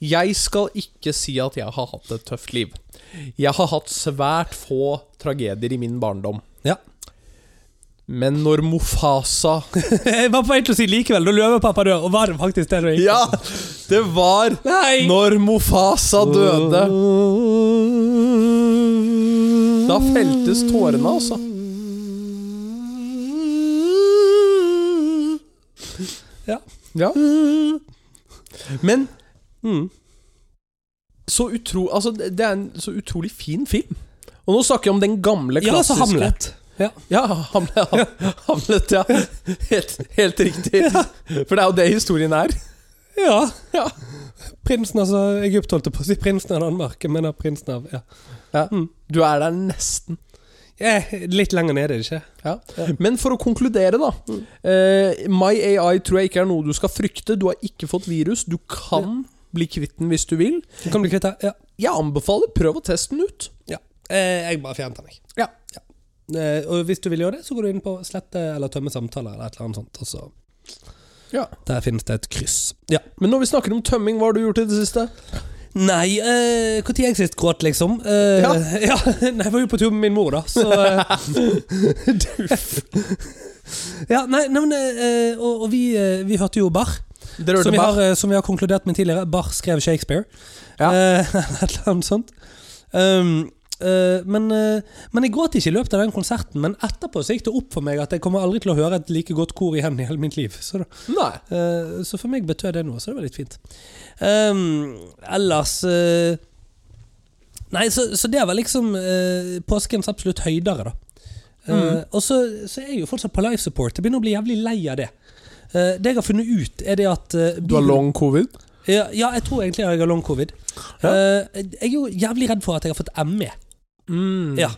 Jeg skal ikke si at jeg har hatt et tøft liv. Jeg har hatt svært få tragedier i min barndom.
Ja.
Men når Mofasa
Jeg var på vei til å si likevel, da løvepappa dør, og var det faktisk det du gikk
Ja! Det var
Nei!
når Mofasa døde. Da feltes tårene, altså.
Ja.
Ja. Men
Mm.
så utro... Altså, det det er en så utrolig fin film. Og nå snakker jeg om den gamle,
Ja, altså
klassiske
Hamlet. Ja.
Ja, Hamlet, ja. Hamlet, ja. Helt, helt riktig. For det er jo det historien er.
Ja.
Ja.
Prinsen, altså Egypt holdt jeg på å si. Prinsen av Danmark. Jeg mener prinsen av ja.
Du er der nesten.
Eh, Litt lenger nede, er det ikke?
Ja. Men for å konkludere, da. Eh, My AI tror jeg ikke er noe du skal frykte. Du har ikke fått virus. Du kan bli kvitt den hvis du vil.
Du kan bli kvitt det. Ja.
Jeg anbefaler prøv å teste den ut.
ja. Eh, jeg bare fjernet den, jeg.
Ja.
Eh, og hvis du vil gjøre det, så går du inn på slette eller tømme samtaler eller et eller annet sånt. Og så
Ja.
Der finnes det et kryss. Ja.
Men når vi snakker om tømming, hva har du gjort i det siste?
Nei, når eh, hvor tid jeg sist gråt, liksom? Eh,
Ja.
ja. Nei, jeg var jo på tur med min mor, da, så eh, Ja, nei, nei men eh, Og, og vi, eh, vi hørte jo Barr,
Dere
som,
hørte
vi
bare
har, eh, som vi har konkludert med tidligere. Barr skrev Shakespeare.
Ja.
Eh, et eller annet sånt. Um, Eh, men, eh, men jeg gråt ikke i løpet av den konserten, men etterpå så gikk det opp for meg at jeg kommer aldri til å høre et like godt kor igjen i hele mitt liv. Så, da,
Nei.
eh, så for meg betød det noe, så det var litt fint. Ehm, ellers eh, Nei, så, så det var liksom eh, påskens absolutt høydere, da. Eh,
Mm.
og så, så er jeg jo fortsatt på life support. Jeg begynner å bli jævlig lei av det. Eh, det jeg har funnet ut, er det at eh,
Du har
bilen-
long covid?
ja, ja, jeg tror egentlig jeg har long covid.
Ja.
Eh, jeg er jo jævlig redd for at jeg har fått ME.
Mm.
Ja.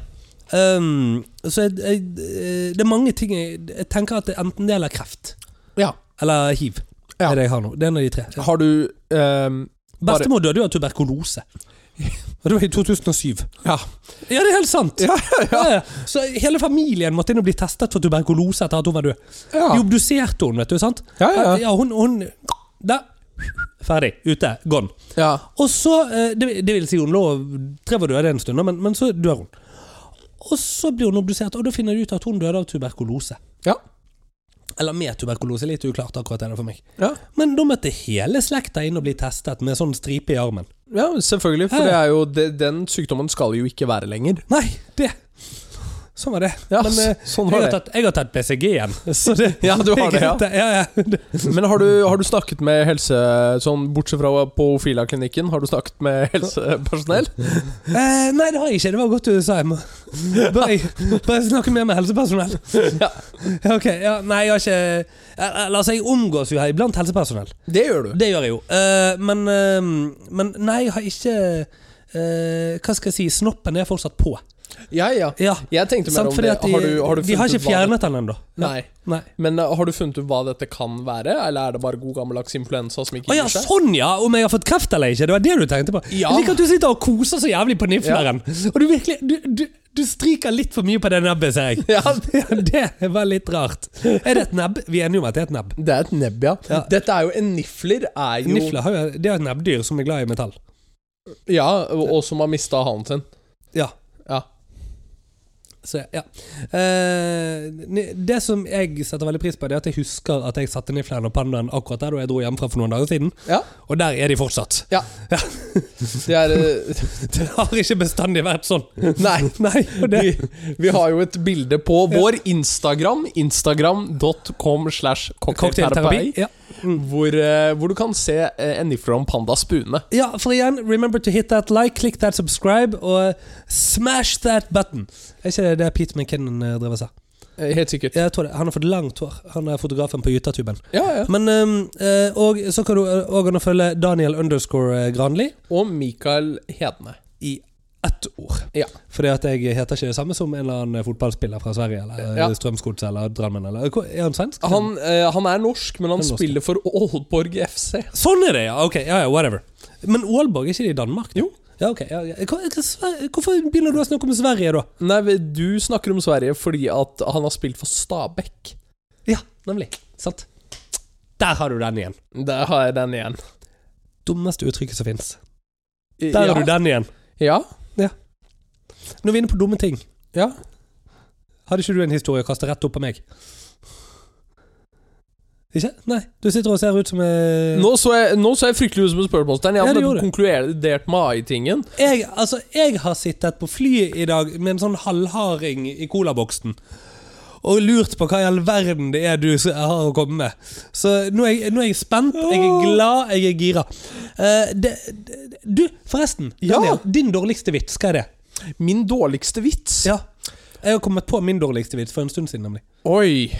Um, så jeg, jeg, eh, det er mange ting jeg, jeg tenker at det enten det eller kreft.
Ja.
Eller hiv.
Ja.
Er det jeg har nå. Det er en av de tre. Ja.
Har du ehm, bare-
Bestemor døde jo av tuberkulose. Og det var i 2007.
Ja.
Ja, det er helt sant! Ja, ja. Så hele familien måtte inn og bli testet for tuberkulose etter at hun var død.
Ja.
De obduserte hun, vet du. sant?
Ja, ja, ja.
ja hun, hun Der. Ferdig. Ute. Gone.
ja.
Og så, eh, det, det vil si hun lå Trevor døde en stund, da, men, men så dør hun. Og så blir hun obdusert, og da finner de ut at hun døde av tuberkulose.
Ja.
Eller med tuberkulose, litt uklart akkurat er det for meg.
Ja.
Men da møtte hele slekta inn og bli testet med sånn stripe i armen.
Ja, selvfølgelig, for
Ja, ja.
det er jo, det, den sykdommen skal jo ikke være lenger.
Nei, det Sånn var det.
Ja,
men eh,
så- sånn
jeg,
var
har
det.
tatt, jeg har tatt BCG igjen, så det
Ja, du har det, ja.
ja, ja.
Men har du, har du snakket med helse... Sånn, bortsett fra på Ofila-klinikken, har du snakket med helsepersonell?
Eh, nei, det har jeg ikke. Det var godt du sa. Jeg må bare, bare snakke mer med helsepersonell.
Ja.
Ja, Ok, ja, Nei, jeg har ikke Eller altså, jeg omgås jo her iblant helsepersonell.
Det gjør du.
Det gjør jeg jo. Eh, men, eh, men nei, jeg har ikke eh, Hva skal jeg si? Snoppen er fortsatt på.
Ja, ja.
Ja.
Jeg tenkte mer
Sant,
om
fordi
det.
at de,
Har du, har du
de har ikke
funnet ut hva det-
fjernet den ennå.
Nei.
Nei.
Men uh, har du funnet ut hva dette kan være, eller er det bare god gammeldags influensa som ikke
Å ja,
gir seg?
sånn ja! Om jeg har fått kreft eller ikke? Det var det du tenkte på?
Ja.
Jeg liker at du sitter og koser så jævlig på nifleren. Og du virkelig du, du, du stryker litt for mye på det nebbet, ser jeg.
Ja,
Ja, det var litt rart. Er det et nebb? Vi er enige om at det er et nebb.
det er et nebb, ja.
Ja.
Dette er jo En nifler er jo
Nifla har jo, det er et nebbdyr som er glad i metall.
Ja, og, og som har mista hanen sin.
Ja.
Ja.
Så, ja. Eh, ne- det som jeg setter veldig pris på, Det er at jeg husker at jeg satte nifleren og pandaen akkurat der da jeg dro hjemmefra for noen dager siden.
Ja.
Og der er de fortsatt.
Ja.
Ja.
Det er uh,
Det har ikke bestandig vært sånn.
Nei.
Nei, og det,
Vi, vi har jo et bilde på vår Instagram, instagram.com slash cocktailterapi,
cocktailterapi. Ja.
hvor, eh, hvor du kan se eh, en nifler om panda spune.
ja, for igjen, remember to hit that like, click that subscribe, og smash that button. Er ikke det det Pete McKinnon eh, drev og sa?
Eh, Helt sikkert.
Jeg tror det. Han har fått langt hår. Han er fotografen på Jutatuben.
Ja, ja.
Men ehm, eh, Og så kan du òg følge Daniel underscore eh, Granli
Og Mikael Hedne.
i ett ord.
Ja.
Fordi at jeg heter ikke det samme som en eller annen eh, fotballspiller fra Sverige, eller
Ja.
ja. Strømsgods, eller Drammen, eller eh, Hvor- Er han svensk?
Han, eh, han er norsk, men han
Han er norsk,
spiller for Aalborg FC.
Sånn er det, ja! Ok, ja, ja, whatever. Men Aalborg, er ikke det i Danmark? da?
Jo.
Ja, ok. Ja, ja. Hva- hva- Sver- Hvorfor begynner du å snakke om Sverige, da?
Nei, men du snakker om Sverige fordi at han har spilt for Stabæk.
Ja, nemlig. Sant. Der har du den igjen.
Der har jeg den igjen.
Dummeste uttrykket som fins.
I-
Der
ja.
har du den igjen.
Ja.
Når vi er inne på dumme ting
Ja.
Hadde ikke du en historie å kaste rett opp på meg? Ikke? Nei. Du sitter og ser ut som eh,
Nå så jeg, nå så jeg fryktelig ut som en spørsmålstegn. Jeg
Ja,
hadde
det gjorde du.
konkludert med AI-tingen.
jeg, altså, jeg har sittet på flyet i dag med en sånn halvharding i colaboksen. Og lurt på hva i all verden det er du s- har å komme med. Så nå er jeg, nå er jeg spent, jeg er glad, jeg er gira. Eh, det, det, du, forresten.
Ja.
Daniel, din dårligste vits, hva er det?
Min dårligste vits.
Ja. Jeg har kommet på min dårligste vits for en stund siden. nemlig
Oi.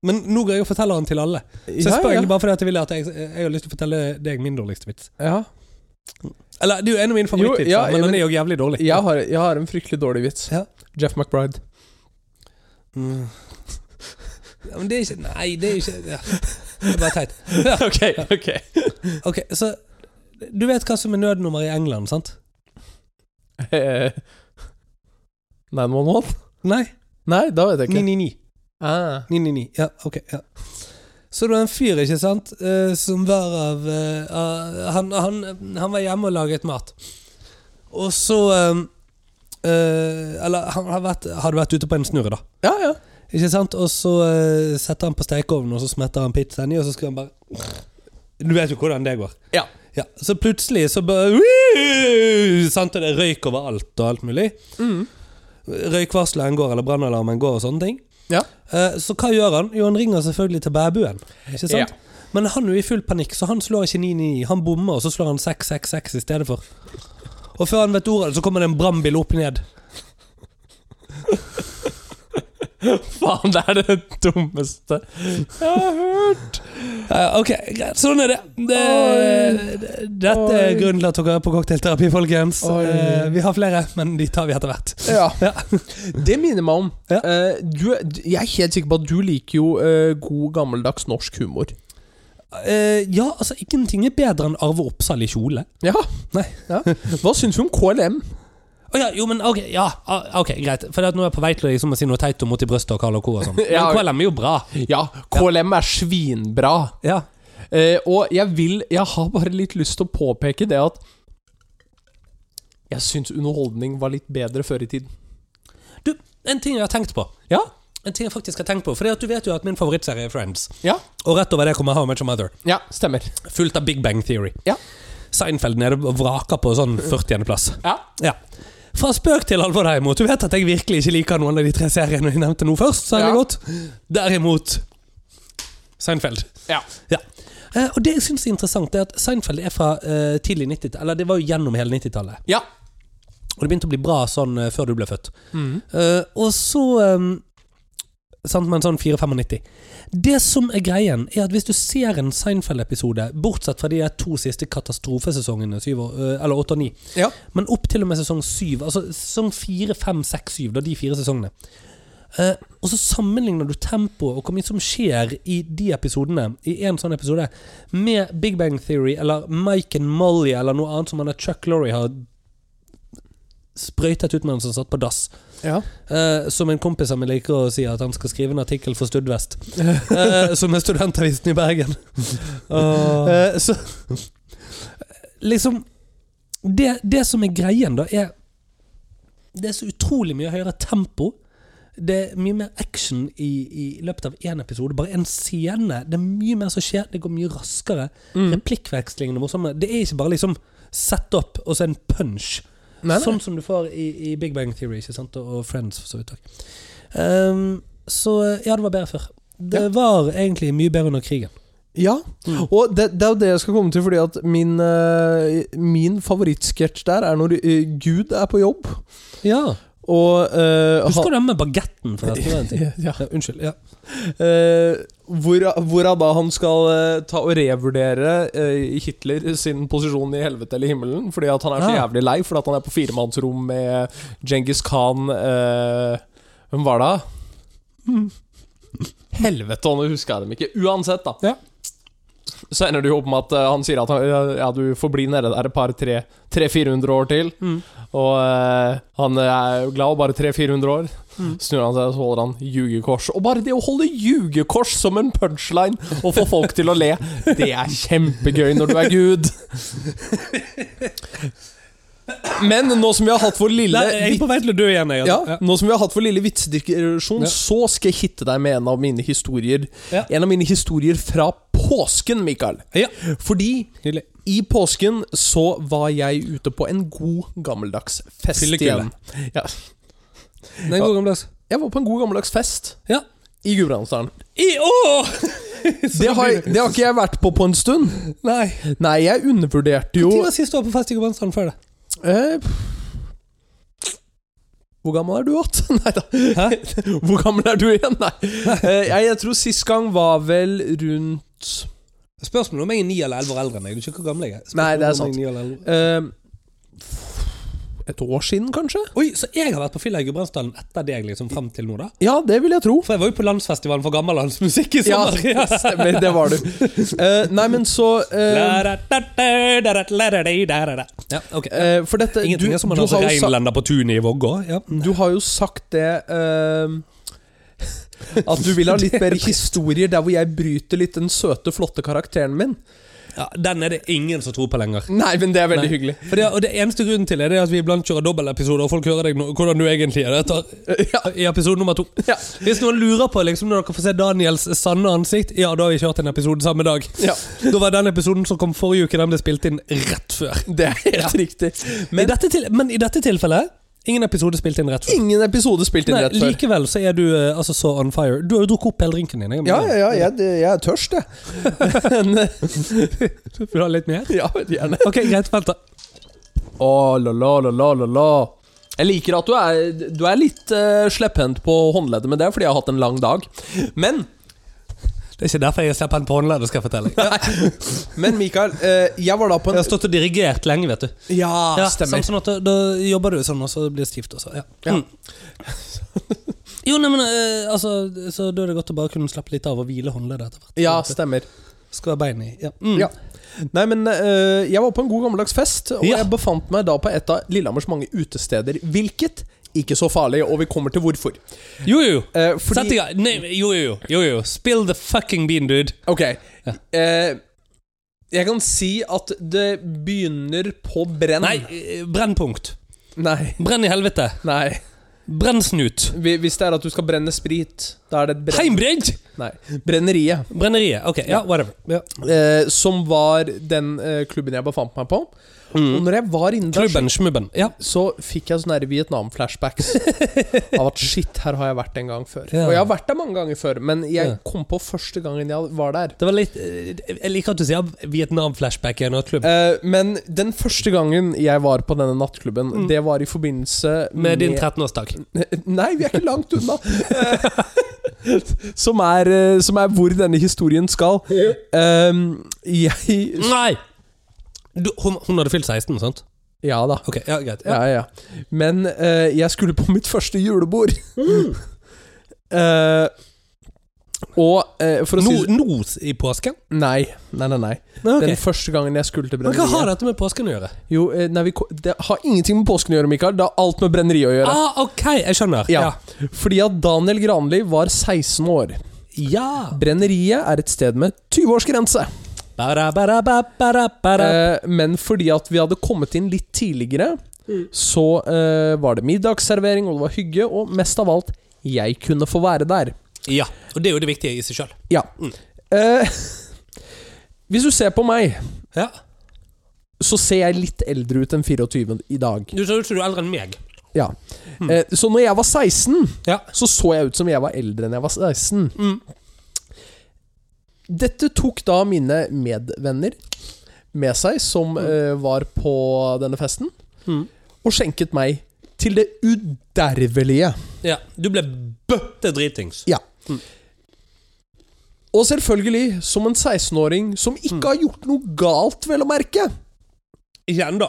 Men nå går jeg og forteller den til alle. Så jeg
Ja,
spør
ja.
egentlig bare fordi at jeg vil at jeg, jeg har lyst til å fortelle deg min dårligste vits.
Ja.
Eller det er jo en av mine favorittvitser,
ja,
men
men-
den er jo jævlig dårlig.
Jeg har, jeg har en fryktelig dårlig vits.
Ja.
Jeff McBride.
Mm. Ja, men det er ikke Nei, det er ikke ja. Det er bare teit. Ja,
Ok, ok.
ok, så Du vet hva som er nødnummer i England, sant?
Eh, 911?
Nei.
Nei, da vet jeg ikke.
999.
Ah.
999. Ja, ok. ja Så det var en fyr, ikke sant, eh, som var av eh, av- han, han, han var hjemme og laget mat. Og så eh, eh, Eller han hadde vært, hadde vært ute på en snurr, da.
Ja, ja.
Ikke sant? Og så eh, setter han på stekeovnen, og så smetter han pizzaen i, og så skal han bare Du vet jo hvordan det går.
Ja.
Ja, så plutselig så bare Wii! Sant, og det er røyk overalt og alt mulig.
Mm.
Røykvarsleren går, eller brannalarmen går og sånne ting.
Ja.
Eh, Så hva gjør han? Jo, han ringer selvfølgelig til bæbuen. Ikke sant?
Ja.
Men han er jo i full panikk, så han slår ikke 999. Han bommer, og så slår han 666 i stedet for. Og før han vet ordet av det, så kommer det en brannbil opp ned.
Faen, det er det dummeste jeg har hørt!
Eh, ok, greit. Sånn er det. det dette er
Oi.
grunnen til at dere er på cocktailterapi, folkens.
Oi.
Eh, vi har flere, men de tar vi etter hvert.
Ja.
Ja.
Det minner meg om
Ja.
eh, du, du- Jeg er helt sikker på at du liker jo eh, god, gammeldags norsk humor.
Eh, ja, altså, ingenting er bedre enn Arve Oppsal i kjole.
Ja.
Nei.
ja. Hva syns du om KLM?
Å ja, jo, men ok, ja, ah, ok, greit. For at nå er jeg på vei til å liksom, si noe teit om mot i brystet og Karl og Co. og sånn. Men
Ja.
KLM er jo bra.
Ja, KLM er svinbra.
Ja.
Eh, og jeg vil Jeg har bare litt lyst til å påpeke det at jeg syns underholdning var litt bedre før i tiden.
Du, en ting jeg har tenkt på.
Ja?
En ting jeg faktisk har tenkt på, for det at du vet jo at min favorittserie er Friends.
Ja,
Og rett over det kommer How I Met Your Mother.
ja stemmer.
Fullt av Big Bang Theory.
Ja.
Seinfeld nede og vraker på sånn 40. plass.
Ja.
Ja. Fra spøk til alvor, derimot. Du vet at jeg virkelig ikke liker noen av de tre seriene jeg nevnte nå først. så er det
Ja.
godt. Derimot Seinfeld.
Ja.
Ja. Eh, og det jeg syns er interessant, er at Seinfeld er fra eh, tidlig 90-tall. Eller det var jo gjennom hele 90-tallet.
Ja.
Og det begynte å bli bra sånn eh, før du ble født.
Mm.
Eh, og så um, Sant, men sånn 4,95. Det som er greien, er at hvis du ser en Seinfeld-episode, bortsett fra de der to siste katastrofesesongene, syv og, eh, eller åtte og ni,
Ja.
men opp til og med sesong syv, altså sesong fire, fem, seks, syv, da de fire sesongene Eh, Og så sammenligner du tempoet og hvor mye som skjer i de episodene, i en sånn episode, med Big Bang Theory eller Mike and Molly eller noe annet som han der Chuck Lorre har sprøytet ut mens han satt på dass.
Ja.
Eh, som en kompis av meg liker å si at han skal skrive en artikkel for Studvest. eh, som er studentavisen i Bergen. Eh, så liksom det, det som er greien, da, er Det er så utrolig mye høyere tempo. Det er mye mer action i, i løpet av én episode. Bare en scene. Det er mye mer som skjer. Det går mye raskere.
Mm.
Replikkvekslingene er morsomme. Det er ikke bare liksom set up og så en punch.
Nei, nei.
Sånn som du får i, i Big Bang Theory ikke sant? og og Friends. for Så vidt også. Ehm, så ja, det var bedre før. Det
Ja.
var egentlig mye bedre under krigen.
Ja,
Mm.
og det, det er jo det jeg skal komme til, fordi at min, eh, min favorittsketsj der er når eh, Gud er på jobb,
Ja.
og eh, han-
Husker du den med bagetten, forresten? Det var en ting.
Ja.
Ja, unnskyld. Ja.
Eh, hvor, hvorav da han skal eh, ta og revurdere eh, Hitler sin posisjon i helvete eller himmelen, fordi at han er så
Ja.
jævlig lei, fordi at han er på firemannsrom med Genghis Khan eh, Hvem var det? Helvete, nå husker jeg dem ikke. Uansett, da.
Ja.
Så ender det jo opp med at eh, han sier at han, ja, ja, du får bli nede der et par 300-400 år til.
Mm.
Og eh, han er jo glad og bare 300-400 år.
Mm.
Snur han seg og så holder han jugekors. Og bare det å holde jugekors som en punchline og få folk til å le, det er kjempegøy når du er Gud. Men nå som vi har hatt vår lille
Nei, jeg er på vei til å dø igjen, jeg.
ja,
altså.
nå som vi har hatt vår lille vitsediskusjon,
Ja.
så skal jeg hitte deg med en av mine historier.
Ja.
En av mine historier fra påsken, Mikael.
Ja.
Fordi
Nydelig.
i påsken så var jeg ute på en god gammeldags fest
Fyllekule.
igjen. Ja.
Det er en god gammeldags.
Jeg var på en god gammeldags fest
Ja.
i Gudbrandsdalen.
I år!
Det har, jeg- det har ikke jeg vært på på en stund.
Nei.
Nei, jeg undervurderte
Når
jo
var sist du var på fest i Gudbrandsdalen før det?
eh, Hvor gammel er du igjen? Nei da. Hvor gammel er du igjen? Nei. Eh, jeg, jeg tror sist gang var vel rundt
Spørsmålet om jeg er ni eller elleve år eldre enn deg. Du er ikke hvor gammel jeg er. Spørsmålet
Nei, det er
om jeg
sant.
ni eller elleve.
eh, Et år siden, kanskje?
Oi, så jeg har vært på fylla i Gudbrandsdalen etter deg liksom fram til nå, da?
Ja, det vil jeg tro.
For jeg var jo på landsfestivalen for gammellandsmusikk i
Sånn, altså. Ja,
sommer.
stemmer. Det var du. Eh, nei, men så eh,
Ja. ja, ok.
eh, For dette
Ingenting
du,
er som en
du, har jo sa,
reinlender på tunet i Vågå. Ja.
du har jo sagt det eh, At du vil ha litt mer historier der hvor jeg bryter litt den søte, flotte karakteren min.
Ja, den er det ingen som tror på lenger.
Nei, men det er veldig
Nei.
hyggelig.
For det, og det eneste grunnen til er det at vi iblant kjører dobbeltepisoder, og folk hører deg nå, hvordan du egentlig er etter, i episode nummer to.
Ja.
Hvis noen lurer på liksom, når dere får se Daniels sanne ansikt, ja, da har vi kjørt en episode samme dag.
Ja.
Da var den episoden som kom forrige uke, den ble spilt inn rett før.
Det er helt riktig.
Men, I
Men
dette til, men i dette tilfellet, ingen episode spilt inn rett før.
ingen episode spilt inn
Nei,
rett før.
likevel så er du eh, altså, så on fire. Du har jo drukket opp hele drinken din. jeg må
Ja,
bare-
ja, ja, jeg, det- jeg er tørst, jeg.
Vil du ha litt mer?
Ja, gjerne.
Ok, greit, vent da.
Å, la, la, la, la, la, la. Jeg liker at du er, du er litt uh, slepphendt på håndleddet, men det er fordi jeg har hatt en lang dag. Men
Det er ikke derfor jeg slipper en på håndleddet, skal jeg fortelle. deg.
Men Mikael, eh, jeg var da på
Jeg
en
har stått og dirigert lenge, vet du.
Ja,
Ja,
stemmer.
Sånn, sånn at da, da jobber du sånn, og så blir det stivt også. Ja.
Ja.
Mm. jo, nei, men eh, altså Så da er det godt å bare kunne slappe litt av og hvile håndleddet etter hvert.
Ja, stemmer.
Skal ha bein i. Ja. Mm.
Ja. Nei, men eh, jeg var på en god gammeldags fest, og
Ja.
jeg befant meg da på et av Lillehammers mange utesteder, hvilket ikke så farlig, og vi kommer til hvorfor.
Jo, jo.
Eh,
Sett i
fordi
gang. Nei, jo, jo, jo, jo. Spill the fucking bean, dude.
Ok.
Ja.
eh, jeg kan si at det begynner på brenn.
Nei, eh, brennpunkt.
Nei.
Brenn i helvete.
Nei.
Brennsnut.
Hvi- Hvis det er at du skal brenne sprit, da er det et brenn...
Heimbrent!
Nei. Brenneriet.
Brenneriet. Ok, ja, whatever. Ja.
eh, som var den eh, klubben jeg befant meg på. Og når jeg var inne der,
Mm. Klubben, smubben. Ja.
så fikk jeg sånne der Vietnam-flashbacks. av at shit, her har jeg vært en gang før.
Ja.
Og jeg har vært der mange ganger før, men
Ja.
jeg kom på første gangen jeg var der.
Det var litt eh, Jeg liker at du sier Vietnam-flashback i en nattklubb.
Eh, men den første gangen jeg var på denne nattklubben, det var i forbindelse
Mm. Med din 13-årsdag.
Nei, vi er ikke langt unna! Eh, som, er, eh, som er hvor denne historien skal. Eh, jeg
Nei! Du, hun, hun hadde fylt 16, sant?
Ja da.
Ok, ja, greit. Ja.
Ja, ja. ja. Men eh, jeg skulle på mitt første julebord.
Mm.
Eh, og eh, for å
Nå,
si det
nå s- i påsken?
Nei, nei, nei. nei.
Nei, ok.
Den første gangen jeg skulle til
Men hva har
brenneriet
dette med påsken å gjøre?
Jo, eh, nei, vi, ko- Det har ingenting med påsken å gjøre, Mikael. Det har alt med brenneriet å gjøre.
Ah, ok, jeg skjønner.
ja. Fordi at Daniel Granli var 16 år.
ja.
Brenneriet er et sted med 20-årsgrense.
Bara, bara, ba, bara, bara.
Eh, men fordi at vi hadde kommet inn litt tidligere, så eh, var det middagsservering, og det var hygge, og mest av alt, jeg kunne få være der.
Ja. Og det er jo det viktige i seg sjøl.
Ja. Eh, hvis du ser på meg,
Ja.
så ser jeg litt eldre ut enn 24 i dag.
Du ser ut som du er eldre enn meg.
Ja. Eh, så når jeg var 16,
Ja.
så så jeg ut som jeg var eldre enn jeg var 16.
Mm.
Dette tok da mine medvenner med seg, som eh, var på denne festen, og skjenket meg til det udervelige.
ja. Du ble bøtte dritings.
Ja. Og selvfølgelig, som en 16-åring som ikke har gjort noe galt, vel å merke.
Ikke ennå.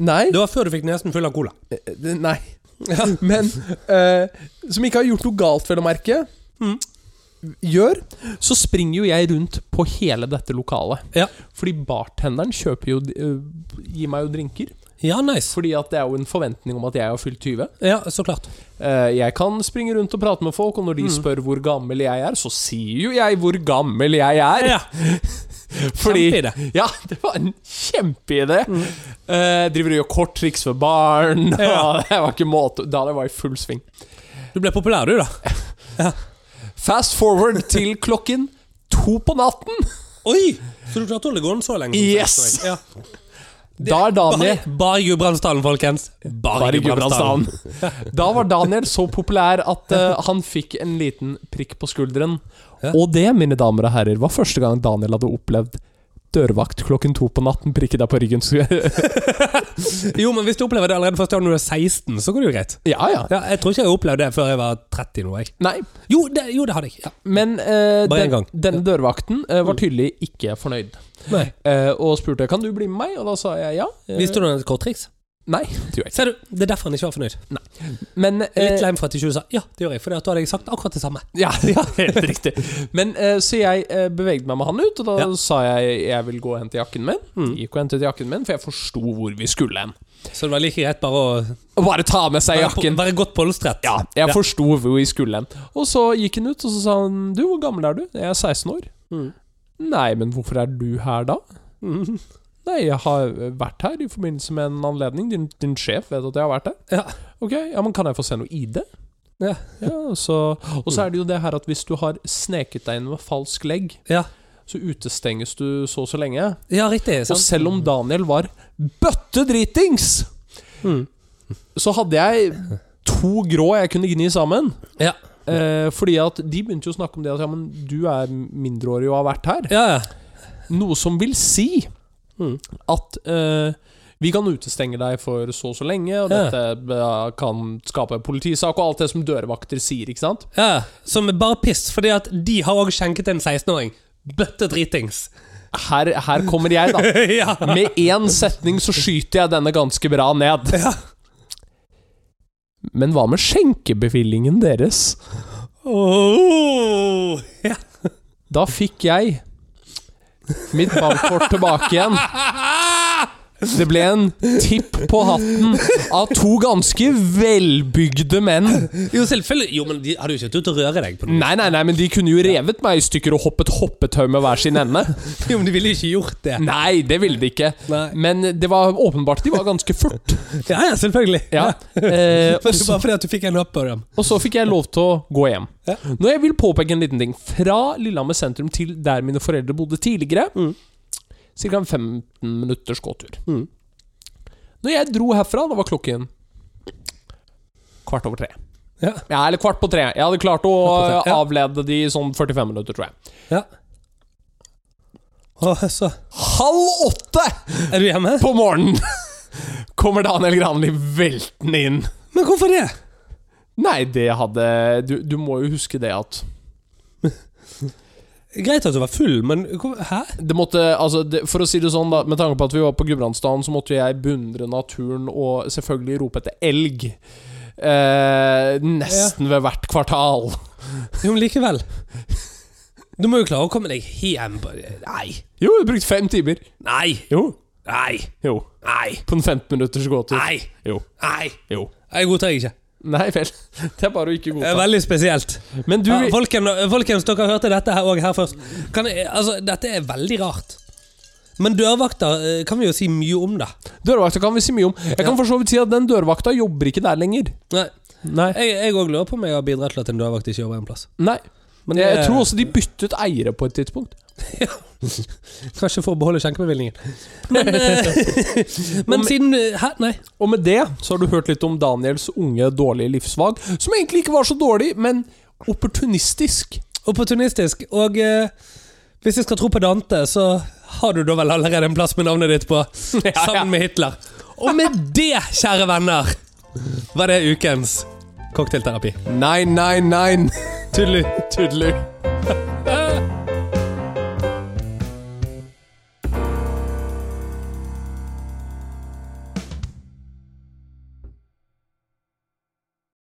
Nei.
Det var før du fikk nesen full av cola.
Eh, Nei. Men eh, Som ikke har gjort noe galt, vel å merke. Gjør. Så springer jo jeg rundt på hele dette lokalet.
Ja.
Fordi bartenderen kjøper jo eh, Gir meg jo drinker.
Ja, nice.
Fordi at det er jo en forventning om at jeg har fylt 20.
Ja, så klart.
Eh, jeg kan springe rundt og prate med folk, og når
Mm.
de spør hvor gammel jeg er, så sier jo jeg hvor gammel jeg er.
Ja.
Fordi,
Kjempeidé.
Ja, det var en kjempeidé.
Mm.
Eh, driver og gjør korttriks for barn.
Ja.
Og det var ikke måte Da det var i full sving.
Du ble populær, du, da.
Fast forward til klokken to på natten.
Oi! Så du klarte å holde gående så lenge? som
Yes!
16-åring? Ja.
Da er Daniel
Bare, bare Gudbrandsdalen, folkens. Bare,
Bare i
Gudbrandsdalen.
Gudbrandsdalen. Da var Daniel så populær at eh, han fikk en liten prikk på skulderen.
Ja.
Og det, mine damer og herrer, var første gang Daniel hadde opplevd dørvakt klokken to på natten prikke deg på ryggen. Så,
Jo, men hvis du opplever det allerede første gang du er 16, så går det jo greit.
ja, ja.
Ja, jeg tror ikke jeg opplevde det før jeg var 30 nå. Jeg.
Nei,
Jo, det, jo, det hadde jeg. Ja.
men eh,
Bare en
den,
gang.
denne dørvakten eh, var tydelig ikke fornøyd.
Nei.
Eh, og spurte kan du bli med meg, og da sa jeg ja. Eh,
Visste du noe om et korttriks?
Nei, det gjorde jeg
Ser du, Det er derfor han ikke var fornøyd.
ikke. Men, eh,
Litt lei for at ikke du sa ja, det gjør jeg, for da hadde jeg sagt akkurat det samme.
Ja, ja helt riktig. Men eh, Så jeg eh, beveget meg med han ut, og da
Ja. Mm.
sa jeg jeg vil gå og hente jakken min. Gikk og hentet jakken min, for jeg forsto hvor vi skulle hen.
Så det var like greit bare å
Og bare ta med seg
være, på,
jakken.
være godt polstret.
Ja, jeg
Ja.
forsto hvor vi skulle hen. Og så gikk han ut, og så sa han Du, hvor gammel er du? Jeg er 16 år. Nei, men hvorfor er du her da?
Mm.
Nei, jeg har vært her i forbindelse med en anledning. Din, din sjef vet at jeg har vært her.
Ja.
Ok, ja, men kan jeg få se noe ID?
Ja.
Ja, så, og så er det jo det her at hvis du har sneket deg inn med falsk legg,
Ja.
så utestenges du så og så lenge.
ja, riktig.
Og
Sant?
selv om Daniel var bøttedritings,
Mm.
så hadde jeg to grå jeg kunne gni sammen.
Ja.
Eh, fordi at de begynte jo å snakke om det at ja, men du er mindreårig og har vært her.
Ja, ja.
Noe som vil si
Mm.
at eh, vi kan utestenge deg for så og så lenge, og
Ja.
dette eh, kan skape politisak og alt det som dørvakter sier, ikke sant?
Ja, som er bare piss, fordi at de har også skjenket en 16-åring bøtte dritings.
Her, her kommer jeg, da.
ja.
Med én setning så skyter jeg denne ganske bra ned.
Ja.
Men hva med skjenkebevillingen deres?
Oh, ja.
Da fikk jeg mitt bankkort tilbake igjen. Det ble en tipp på hatten av to ganske velbygde menn.
Jo, selvfølgelig. Jo, men de hadde jo ikke turt å røre deg på noe.
Nei, nei, nei, men de kunne jo revet meg i stykker og hoppet hoppetau med hver sin ende.
Jo, men de ville jo ikke gjort det.
Nei, det ville de ikke.
Nei.
Men det var åpenbart de var ganske furt.
Ja, ja, selvfølgelig.
Ja. Eh,
Men det
og
var bare fordi at du fikk en opp på dem.
Og så fikk jeg lov til å gå hjem.
Ja.
Når jeg vil påpeke en liten ting Fra Lillehammer sentrum til der mine foreldre bodde tidligere,
Mm.
ca. en 15 minutters gåtur.
Mm.
Når jeg dro herfra, da var klokken kvart over tre.
Ja.
Ja, eller kvart på tre. Jeg hadde klart å eh,
Kvart på tre, ja.
avlede de i sånn 45 minutter, tror jeg.
ja. Å, så.
Halv åtte
Er du hjemme?
på morgenen kommer Daniel Granli veltende inn.
Men hvorfor det?
Nei, det hadde Du, du må jo huske det at
Greit at du var full, men hvor, Hæ?
det måtte, altså, det, For å si det sånn, da, med tanke på at vi var på Gudbrandsdalen, så måtte jeg beundre naturen og selvfølgelig rope etter elg. Eh, nesten ved hvert kvartal.
Jo, men likevel. Du må jo klare å komme deg hjem på Nei.
Jo, jeg brukte fem timer.
Nei.
Jo.
Nei.
Jo.
Nei.
På en 15 minutters gåtur.
Nei.
Jo.
Nei.
Jo.
Jeg godtar ikke.
Nei vel. Det er bare å ikke
Det er
godta.
veldig spesielt.
Men du
Ja, folken, folkens, dere hørte dette her, også her først. Kan jeg, altså, dette er veldig rart. Men dørvakter eh, kan vi jo si mye om, da.
Dørvakta kan vi si mye om. Jeg kan for så vidt si at den dørvakta jobber ikke der lenger.
Nei,
Nei.
Jeg òg lurer på om jeg har bidratt til at en dørvakt ikke jobber en plass.
Nei.
Men
jeg,
det-
jeg tror også de byttet eiere på et tidspunkt.
Kanskje for å beholde skjenkebevilgningen. Men, eh, men siden eh, Hæ? Nei.
Og med det så har du hørt litt om Daniels unge, dårlige livsvalg, som egentlig ikke var så dårlig, men opportunistisk.
Opportunistisk. Og eh, hvis jeg skal tro på Dante, så har du da vel allerede en plass med navnet ditt på,
ja.
sammen med Hitler. Og med det, kjære venner, var det ukens cocktailterapi.
Nei, nei, nei. Tudelu. Tudelu.